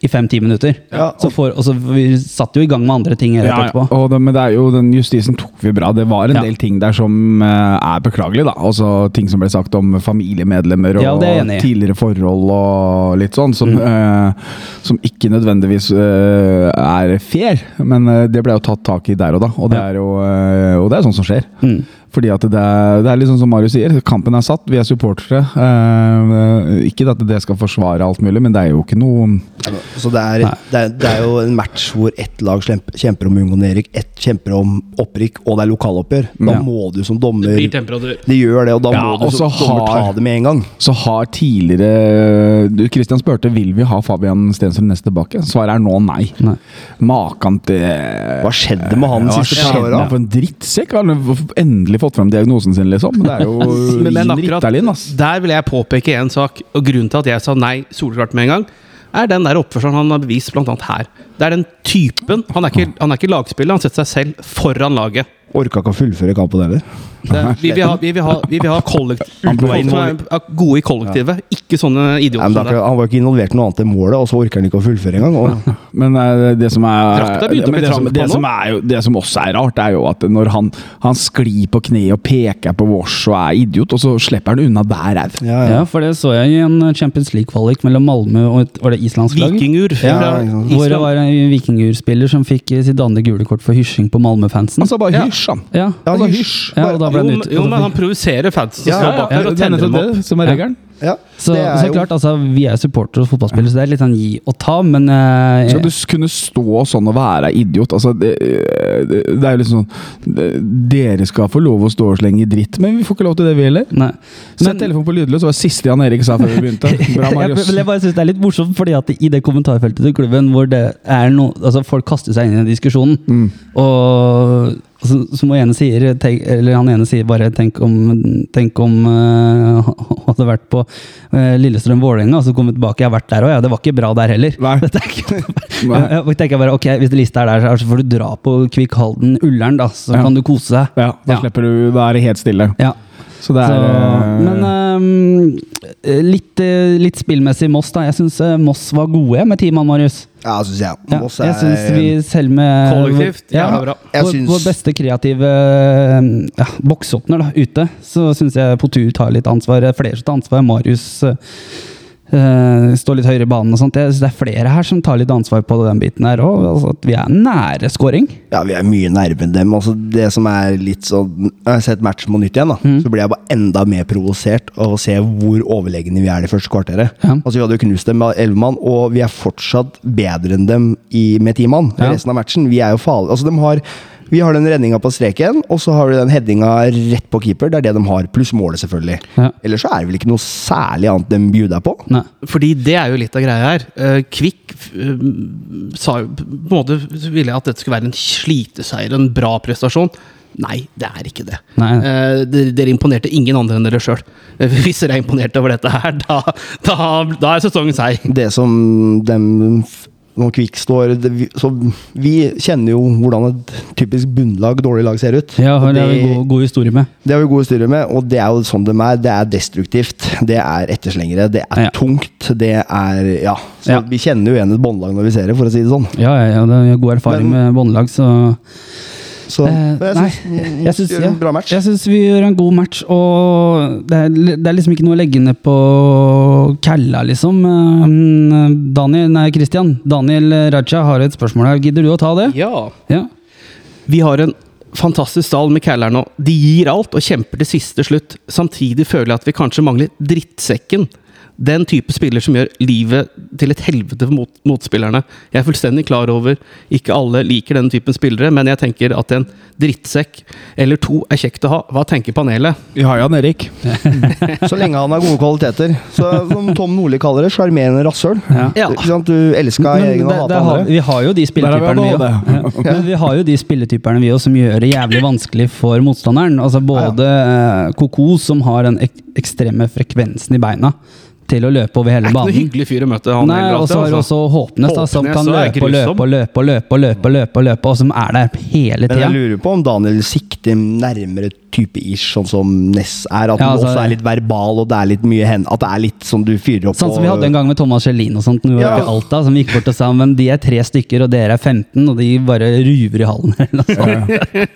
[SPEAKER 2] i fem-ti minutter.
[SPEAKER 3] Ja,
[SPEAKER 2] så får, og så Vi satt jo i gang med andre ting rett
[SPEAKER 1] Ja, ja.
[SPEAKER 2] etterpå.
[SPEAKER 1] Og det, men det er jo, den justisen tok vi bra. Det var en
[SPEAKER 2] Ja.
[SPEAKER 1] del ting der som eh, er beklagelig, da. Altså ting som ble sagt om familiemedlemmer og
[SPEAKER 2] Ja, det er jeg enig i. Mm.
[SPEAKER 1] tidligere forhold og litt sånn, som, eh, som ikke nødvendigvis eh, er fair. Men eh, det ble jo tatt tak i der og da, og det
[SPEAKER 2] Ja.
[SPEAKER 1] er jo eh, og det er sånn som skjer.
[SPEAKER 2] Mm.
[SPEAKER 1] Fordi at det er, det er litt sånn som Marius sier, kampen er satt, vi er supportere. Eh, ikke at det skal forsvare alt mulig, men det er jo ikke noe
[SPEAKER 3] Så det er, det, er, det er jo en match hvor ett lag slem- kjemper om å unngå nedrykk, ett kjemper om opprykk, og det er lokaloppgjør. Da
[SPEAKER 1] Ja.
[SPEAKER 3] må du som dommer
[SPEAKER 4] Blir temperatur.
[SPEAKER 3] Det gjør det, og da
[SPEAKER 1] Ja,
[SPEAKER 3] må
[SPEAKER 1] og
[SPEAKER 3] du som
[SPEAKER 1] så har-
[SPEAKER 3] dommer ta det med en gang.
[SPEAKER 1] så har tidligere du, Christian spurte vil vi ha Fabian Stensrud nest tilbake. Svaret er nå nei.
[SPEAKER 2] Nei.
[SPEAKER 1] Makan til
[SPEAKER 3] Hva skjedde med han de
[SPEAKER 1] Hva
[SPEAKER 3] siste par
[SPEAKER 1] skjedde?
[SPEAKER 3] åra?
[SPEAKER 1] Han for en drittsekk! Han har endelig fått frem diagnosen sin, liksom. Det er jo
[SPEAKER 4] Men, men akkurat
[SPEAKER 1] Ritalin, ass.
[SPEAKER 4] der vil jeg påpeke en sak, og grunnen til at jeg sa nei soleklart med en gang, er den der oppførselen han har bevist blant annet her. Det er den typen. Han er ikke, han er ikke lagspiller, han setter seg selv foran laget.
[SPEAKER 3] Orka ikke å fullføre kampen heller.
[SPEAKER 4] Det, vi, vil ha, vi, vil ha, vi vil ha kollektiv,
[SPEAKER 1] Han ble
[SPEAKER 4] folk som er er gode i kollektivet, ikke sånne
[SPEAKER 3] Nei, men
[SPEAKER 4] idioter
[SPEAKER 3] da,
[SPEAKER 4] som deg.
[SPEAKER 3] han var jo ikke involvert i noe annet enn målet, og så orker han ikke å fullføre engang. og-
[SPEAKER 1] Men eh, det som er
[SPEAKER 4] Trakta begynte å
[SPEAKER 1] men
[SPEAKER 4] bli
[SPEAKER 1] det som,
[SPEAKER 4] trampa
[SPEAKER 1] det,
[SPEAKER 4] nå.
[SPEAKER 1] som er jo, det som også er rart, er jo at når han, han sklir på kne og peker på vårs og er idiot, og så slipper han unna der au.
[SPEAKER 3] Ja, ja.
[SPEAKER 2] Ja, for det så jeg i en Champions League-kvalik mellom Malmö og et, var det islandsk lag?
[SPEAKER 4] Vikingur.
[SPEAKER 3] Ja,
[SPEAKER 4] fra
[SPEAKER 3] ikke sant.
[SPEAKER 2] Hvor det
[SPEAKER 4] Island.
[SPEAKER 2] var en vikingurspiller som fikk eh, sitt andre gule kort for hysjing på Malmö-fansen.
[SPEAKER 1] Altså, bare
[SPEAKER 4] Ja.
[SPEAKER 1] hysj, han.
[SPEAKER 2] ja.
[SPEAKER 3] Ja,
[SPEAKER 1] Altså,
[SPEAKER 3] hysj.
[SPEAKER 1] hysj.
[SPEAKER 2] ja, og da ble
[SPEAKER 4] Jo,
[SPEAKER 2] han
[SPEAKER 4] men-
[SPEAKER 2] ut.
[SPEAKER 4] jo, men han provoserer fansen som
[SPEAKER 3] Ja,
[SPEAKER 4] står
[SPEAKER 3] ja,
[SPEAKER 4] bak der, og tenner dem opp.
[SPEAKER 1] som
[SPEAKER 2] Ja.
[SPEAKER 1] er regelen.
[SPEAKER 3] ja.
[SPEAKER 2] så,
[SPEAKER 3] det er
[SPEAKER 2] så
[SPEAKER 3] jo-
[SPEAKER 2] klart, altså, vi er supportere og fotballspillere, så det er litt sånn gi og ta, men eh,
[SPEAKER 1] Skal du s- kunne stå sånn og være idiot? Altså, det, det det er jo liksom sånn det- Dere skal få lov å stå og slenge dritt, men vi får ikke lov til det, vi heller.
[SPEAKER 2] Nei.
[SPEAKER 1] Sett telefonen på lydløs, det var det siste Jan Erik sa før vi begynte. Bra,
[SPEAKER 2] jeg,
[SPEAKER 1] Marius.
[SPEAKER 2] men jeg bare synes det er litt morsomt, fordi at i det kommentarfeltet til klubben, hvor det er noe, altså folk kaster seg inn i diskusjonen,
[SPEAKER 1] Mm.
[SPEAKER 2] og så, som han ene sier, tenk, eller han ene sier bare tenk om, tenk om eh, han hadde vært på eh, Lillestrøm Vålerenga, og så kom vi tilbake, jeg har vært der òg, ja, det var ikke bra der heller.
[SPEAKER 1] Nei.
[SPEAKER 2] Dette er ikke,
[SPEAKER 1] Nei.
[SPEAKER 2] Ja, og tenker jeg bare, ok, Hvis det lista er der, så får du dra på Kvikk Halden, Ullern, da, så
[SPEAKER 1] Ja.
[SPEAKER 2] kan du kose deg.
[SPEAKER 1] Ja, da
[SPEAKER 2] Ja.
[SPEAKER 1] slipper du Da er det helt stille.
[SPEAKER 2] Ja.
[SPEAKER 1] Så det er
[SPEAKER 2] Så,
[SPEAKER 1] eh,
[SPEAKER 2] men ehm, litt, eh, litt spillmessig Moss, da. Jeg syns eh, Moss var gode med ti mann, Marius.
[SPEAKER 3] ja syns jeg.
[SPEAKER 2] Ja,
[SPEAKER 3] Moss
[SPEAKER 2] jeg synes vi selv med
[SPEAKER 4] Kollektivt, jævla bra.
[SPEAKER 3] Jeg
[SPEAKER 2] vår,
[SPEAKER 3] synes-
[SPEAKER 2] vår beste kreative ehm, ja, boksåpner da, ute, så syns jeg Potur tar litt ansvar. Det er Flere som tar ansvar. Marius eh, eh, står litt høyere i banen og sånt. Jeg synes det er flere her som tar litt ansvar på den biten her òg. Altså, at vi er nære scoring.
[SPEAKER 3] Ja, vi er mye nærmere dem. Altså, det som er litt sånn Jeg har sett matchen på nytt igjen, da.
[SPEAKER 2] Mm.
[SPEAKER 3] Så blir jeg bare enda mer provosert av å se hvor overlegne vi er det første kvarteret.
[SPEAKER 2] Ja.
[SPEAKER 3] Altså, vi hadde jo knust dem med elleve mann, og vi er fortsatt bedre enn dem i, med ti mann. i
[SPEAKER 2] Ja.
[SPEAKER 3] Resten av matchen. Vi er jo farlige. Altså, de har vi har den redninga på streken, og så har du den headinga rett på keeper. Det er det de har, pluss målet, selvfølgelig.
[SPEAKER 2] Ja.
[SPEAKER 3] Ellers så er det vel ikke noe særlig annet de bjuder deg på.
[SPEAKER 2] Nei.
[SPEAKER 4] Fordi det er jo litt av greia her. Eh, Kvikk eh, sa jo på en måte ville jeg at dette skulle være en sliteseier, en bra prestasjon. Nei, det er ikke det.
[SPEAKER 2] Nei.
[SPEAKER 4] Eh, dere, dere imponerte ingen andre enn dere sjøl. Hvis dere er imponert over dette her, da, da, da er sesongen seig.
[SPEAKER 3] det som dem når Kvikk står det, vi, så vi kjenner jo hvordan et typisk bunnlag, dårlig lag, ser ut.
[SPEAKER 2] Ja,
[SPEAKER 3] Og
[SPEAKER 2] det er vi
[SPEAKER 3] det,
[SPEAKER 2] god, god historie med.
[SPEAKER 3] det har vi gode styrer med, og det er jo sånn de er. Det er destruktivt. Det er etterslengere. Det er
[SPEAKER 2] Ja.
[SPEAKER 3] tungt. Det er Ja. Så
[SPEAKER 2] Ja.
[SPEAKER 3] vi kjenner jo igjen et båndlag når vi ser det, for å si det sånn.
[SPEAKER 2] Ja, ja, ja, det er god erfaring med båndlag, så
[SPEAKER 3] Så
[SPEAKER 2] Eh,
[SPEAKER 3] men jeg syns
[SPEAKER 2] nei,
[SPEAKER 3] vi
[SPEAKER 2] jeg syns-
[SPEAKER 3] gjør
[SPEAKER 2] ja,
[SPEAKER 3] en bra match.
[SPEAKER 2] Jeg syns vi gjør en god match, og det er, det er liksom ikke noe å legge ned på Kalla, liksom. Eh, Daniel, nei, Christian. Daniel Raja har et spørsmål her. Gidder du å ta det?
[SPEAKER 4] Ja.
[SPEAKER 2] Ja.
[SPEAKER 4] Vi har en fantastisk stall med Kæler nå. De gir alt og kjemper til siste slutt. Samtidig føler jeg at vi kanskje mangler drittsekken. den type spiller som gjør livet til et helvete for mot, motspillerne. Jeg er fullstendig klar over ikke alle liker den typen spillere, men jeg tenker at en drittsekk eller to er kjekt å ha. Hva tenker panelet?
[SPEAKER 1] Ja, Jan Erik.
[SPEAKER 3] Så lenge han har gode kvaliteter. Så, som Tom Nordli kaller det, sjarmerende rasshøl.
[SPEAKER 4] Ja.
[SPEAKER 3] Ikke sant? Du elska
[SPEAKER 2] Men
[SPEAKER 3] egen og
[SPEAKER 2] det- det
[SPEAKER 3] hata
[SPEAKER 2] har,
[SPEAKER 3] andre.
[SPEAKER 2] vi har jo de spilletyperne, vi
[SPEAKER 1] Der har vi
[SPEAKER 2] òg. Men vi har jo de spilletyperne, vi òg, som gjør det jævlig vanskelig for motstanderen. Altså både eh, Koko, som har den ek ekstreme frekvensen i beina til å løpe over
[SPEAKER 4] Det
[SPEAKER 2] hele
[SPEAKER 4] er ikke noe
[SPEAKER 2] banen.
[SPEAKER 4] hyggelig fyr å møte, han
[SPEAKER 2] Nei,
[SPEAKER 4] heller.
[SPEAKER 2] og så har du
[SPEAKER 4] altså.
[SPEAKER 2] også Håpnes, da, som
[SPEAKER 4] Håpnes
[SPEAKER 2] kan
[SPEAKER 4] også er
[SPEAKER 2] løpe og løpe og løpe og løpe og løpe, og løpe, og løpe, og som er der hele
[SPEAKER 3] Men jeg
[SPEAKER 2] tida.
[SPEAKER 3] lurer på om Daniel sikter nærmere type ish, sånn som Ness er. At
[SPEAKER 2] Ja,
[SPEAKER 3] han
[SPEAKER 2] altså-
[SPEAKER 3] også er litt verbal, og det er litt mye hen At det er litt som du fyrer opp
[SPEAKER 2] Sånn som
[SPEAKER 3] og-
[SPEAKER 2] vi hadde en gang med Thomas Kjellin og sånt, når vi var
[SPEAKER 3] Ja.
[SPEAKER 2] oppe i Alta, som vi gikk bort og sa men de er tre stykker, og dere er 15, og de bare ruver i hallen. eller noe sånt.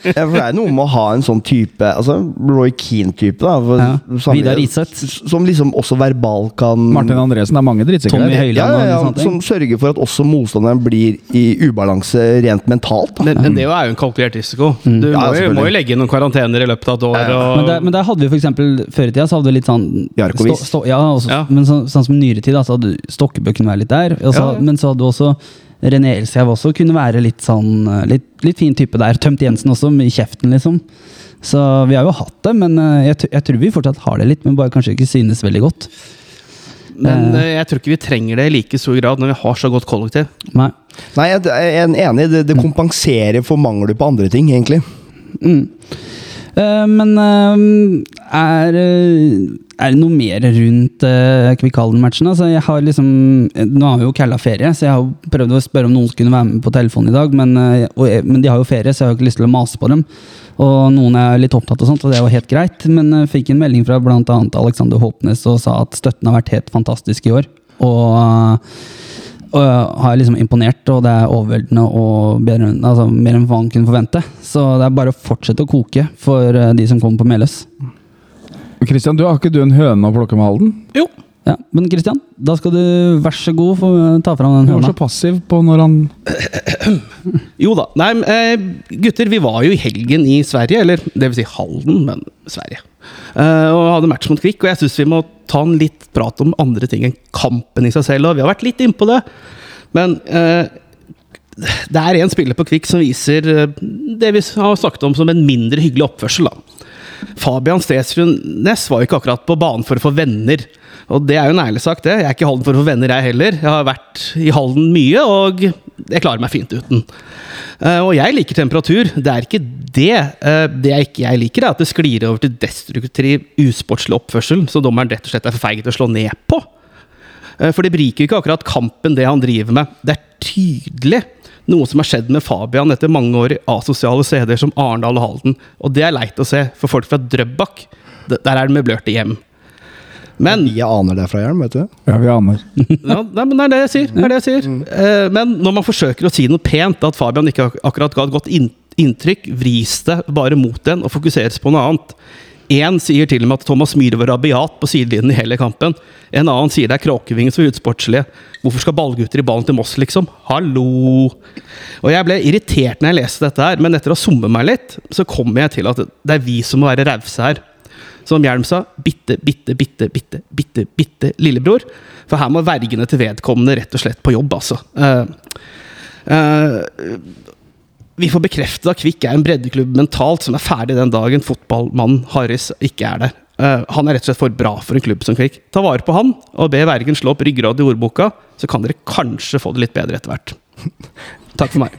[SPEAKER 3] Ja, for det er noe med å ha en sånn type altså Roy Keane-type, da. for-
[SPEAKER 2] Ja.
[SPEAKER 3] samme-
[SPEAKER 2] Vidar Iseth.
[SPEAKER 3] Som liksom også verbal kan
[SPEAKER 1] Mm. Martin Andresen er mange drittsekker.
[SPEAKER 2] Tommy
[SPEAKER 1] der.
[SPEAKER 2] Høie. Høiland
[SPEAKER 3] ja, ja, ja,
[SPEAKER 2] og sånne ting.
[SPEAKER 3] Som sørger for at også motstanderen blir i ubalanse rent mentalt. Da.
[SPEAKER 4] Men, men det er jo en kalkulert risiko. Du
[SPEAKER 3] Ja,
[SPEAKER 4] må, jo,
[SPEAKER 3] selvfølgelig.
[SPEAKER 4] må jo legge inn noen karantener i løpet av et år.
[SPEAKER 2] Mm. Men
[SPEAKER 4] Og,
[SPEAKER 2] der, men der hadde vi for eksempel, Før i tida så hadde vi litt sånn
[SPEAKER 3] Jarkovic.
[SPEAKER 2] stå- stå- ja, også,
[SPEAKER 4] Ja.
[SPEAKER 2] men så, sånn som nyere tid, da, så hadde Stokkebø kunne være litt der. Og så,
[SPEAKER 4] Ja, ja.
[SPEAKER 2] Men så hadde du også René Elsheim også kunne være litt sånn eh, litt, litt fin type der. Tømt Jensen også, med i kjeften, liksom. Så vi har jo hatt det, men eh, jeg, tr- jeg tror vi fortsatt har det litt, men bare kanskje ikke synes veldig godt.
[SPEAKER 4] men eh, jeg tror ikke vi trenger det i like stor grad når vi har så godt kollektiv.
[SPEAKER 2] Nei.
[SPEAKER 3] Nei, jeg jeg er enig. Det, det kompenserer for mangler på andre ting, egentlig.
[SPEAKER 2] Mm. Eh, men eh, er, eh, er det noe mer rundt uh, Kvikalden-matchen? Altså, jeg har liksom, nå har vi jo Kalla ferie, så jeg har jo prøvd å spørre om noen skulle være med på telefonen i dag. Men, eh, og, jeg- men de har jo ferie, så jeg har jo ikke lyst til å mase på dem. Og noen er litt opptatt, og sånt, og det er jo helt greit. Men jeg fikk en melding fra bl.a. Alexander Håpnes og sa at støtten har vært helt fantastisk i år. Og og har liksom imponert, og det er overveldende og bedre, enn- altså, mer enn hva han kunne forvente. Så det er bare å fortsette å koke for eh, de som kommer på Meløs.
[SPEAKER 1] Christian, du har ikke du en høne å plukke med Halden?
[SPEAKER 4] Jo.
[SPEAKER 2] Ja, men Kristian, da skal du vær så god få eh, ta fram
[SPEAKER 1] Du
[SPEAKER 2] den
[SPEAKER 1] var
[SPEAKER 2] høna.
[SPEAKER 1] så passiv på når han
[SPEAKER 4] Jo da. Nei, men, eh, gutter, vi var jo i helgen i Sverige. Eller det vil si Halden, men Sverige. Eh, og hadde match mot Kvikk. Og jeg syns vi må ta en litt prat om andre ting enn kampen i seg selv. Og vi har vært litt innpå det. Men eh, det er en spiller på Kvikk som viser eh, det vi har snakket om som en mindre hyggelig oppførsel. da. Fabian Stensrud Næss var jo ikke akkurat på banen for å få venner. Og det er jo en ærlig sak, det. Jeg er ikke i Halden for å få venner, jeg heller. Jeg har vært i Halden mye, og jeg klarer meg fint uten. Eh, og jeg liker temperatur. Det er ikke det. Eh, det jeg ikke jeg liker, er at det sklir over til destruktiv, usportslig oppførsel, så dommeren rett og slett er for feig til å slå ned på. Eh, For det beriker jo ikke akkurat kampen, det han driver med. Det er tydelig noe som har skjedd med Fabian etter mange år i asosiale steder som Arendal og Halden. Og det er leit å se for folk fra Drøbak. D- Der er det møblerte hjem. Men
[SPEAKER 3] Jeg aner det fra hjelm, vet du.
[SPEAKER 1] Ja, vi aner.
[SPEAKER 4] ja, nei, men det er det jeg sier. Det er det jeg sier. Eh, men når man forsøker å si noe pent, at Fabian ikke ak- akkurat ga et godt inn- inntrykk, vris det bare mot den og fokuseres på noe annet. Én sier til og med at Thomas Myhre var rabiat på sidelinjen i hele kampen. En annen sier det er Kråkevingen som er utsportslige. Hvorfor skal ballgutter i ballen til Moss, liksom? Hallo! Og jeg ble irritert når jeg leste dette her, men etter å ha summet meg litt, så kom jeg til at det er vi som må være rause her. Som Hjelm sa, bitte, bitte, bitte, bitte, bitte, bitte lillebror. For her må vergene til vedkommende rett og slett på jobb, altså. Eh, eh, vi får bekreftet at Kvikk er en breddeklubb mentalt som er ferdig den dagen fotballmannen Harris ikke er der. Eh, han er rett og slett for bra for en klubb som Kvikk. Ta vare på han, og be vergen slå opp ryggrad i ordboka, så kan dere kanskje få det litt bedre etter hvert. Takk for meg.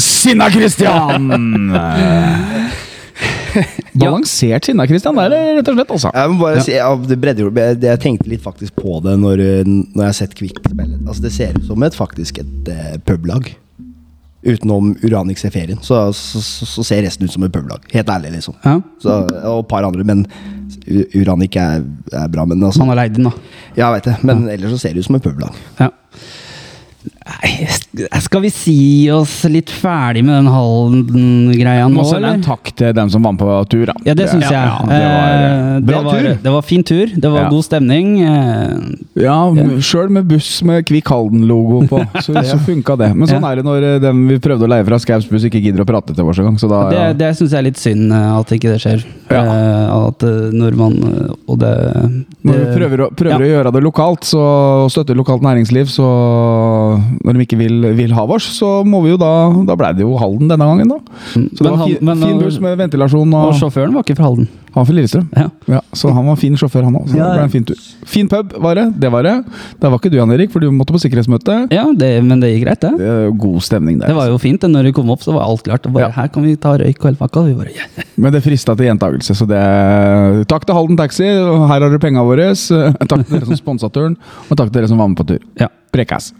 [SPEAKER 1] Sinna Christian! Balansert sinna Christian der, rett og slett, altså.
[SPEAKER 3] Jeg må bare si, ja, det bredde, jo- det, jeg tenkte litt faktisk på det når, eh, når jeg har sett Kvikk spille. Altså, det ser ut som et, faktisk et eh, publag. Utenom Uranix Seferien, så, så, så, så ser resten ut som et publag. Helt ærlig, liksom.
[SPEAKER 2] Ja,
[SPEAKER 3] Så, og et par andre, men U- Uranik er, er bra. Men altså,
[SPEAKER 2] han har leid den, da.
[SPEAKER 3] ja, jeg vet det, men ellers så ser det ut som et publag.
[SPEAKER 2] Ja. Nei, s- Skal vi si oss litt ferdig med den Halden-greia
[SPEAKER 1] Må
[SPEAKER 2] nå,
[SPEAKER 1] sende en
[SPEAKER 2] eller?
[SPEAKER 1] takk til dem som var med på tur, da.
[SPEAKER 2] Ja, det syns jeg.
[SPEAKER 1] Ja, det var,
[SPEAKER 2] Eh, det
[SPEAKER 3] bra
[SPEAKER 2] var-
[SPEAKER 3] tur.
[SPEAKER 2] Det var fin tur. Det var
[SPEAKER 1] Ja.
[SPEAKER 2] god stemning. eh,
[SPEAKER 1] Ja, sjøl med buss med Kvikk Halden-logo på, så, så funka det. Men sånn
[SPEAKER 2] Ja.
[SPEAKER 1] er det når eh, dem vi prøvde å leie fra Skaus buss, ikke gidder å prate til oss engang. Så da
[SPEAKER 2] Det, det syns jeg er litt synd eh, at ikke det skjer.
[SPEAKER 1] Ja.
[SPEAKER 2] Eh, At eh, når man eh, Og det,
[SPEAKER 1] Når du
[SPEAKER 2] det-
[SPEAKER 1] prøver, å, prøver å gjøre det lokalt så, og støtte lokalt næringsliv, så Når de ikke vil, vil ha oss, så må vi jo da Da ble det jo Halden denne gangen, da. Så det
[SPEAKER 2] Men
[SPEAKER 1] var
[SPEAKER 2] han-
[SPEAKER 1] fin,
[SPEAKER 2] men han-
[SPEAKER 1] fin buss med ventilasjon øh, og,
[SPEAKER 2] Og sjåføren var ikke fra Halden.
[SPEAKER 1] Han fra Lillestrøm.
[SPEAKER 2] Ja.
[SPEAKER 1] Ja, så han var fin sjåfør, han òg. Så
[SPEAKER 2] Ja.
[SPEAKER 1] det ble en fin tur. Fin pub var det. Det var det. Der var ikke du, Jan Erik, for du måtte på sikkerhetsmøte.
[SPEAKER 2] Ja, det, men det gikk greit, det.
[SPEAKER 1] Det er jo God stemning der.
[SPEAKER 2] Det var jo fint. det. Når vi kom opp, så var alt klart. Og bare,
[SPEAKER 1] Ja.
[SPEAKER 2] Her kan vi ta røyk og hele pakka. Og vi bare, yeah.
[SPEAKER 1] altså. Men det frista til gjentagelse, så det Takk til Halden Taxi, og her har dere penga våre. Takk til dere som sponsa turen, og takk til dere som var med på tur.
[SPEAKER 2] ja.
[SPEAKER 1] Prekas.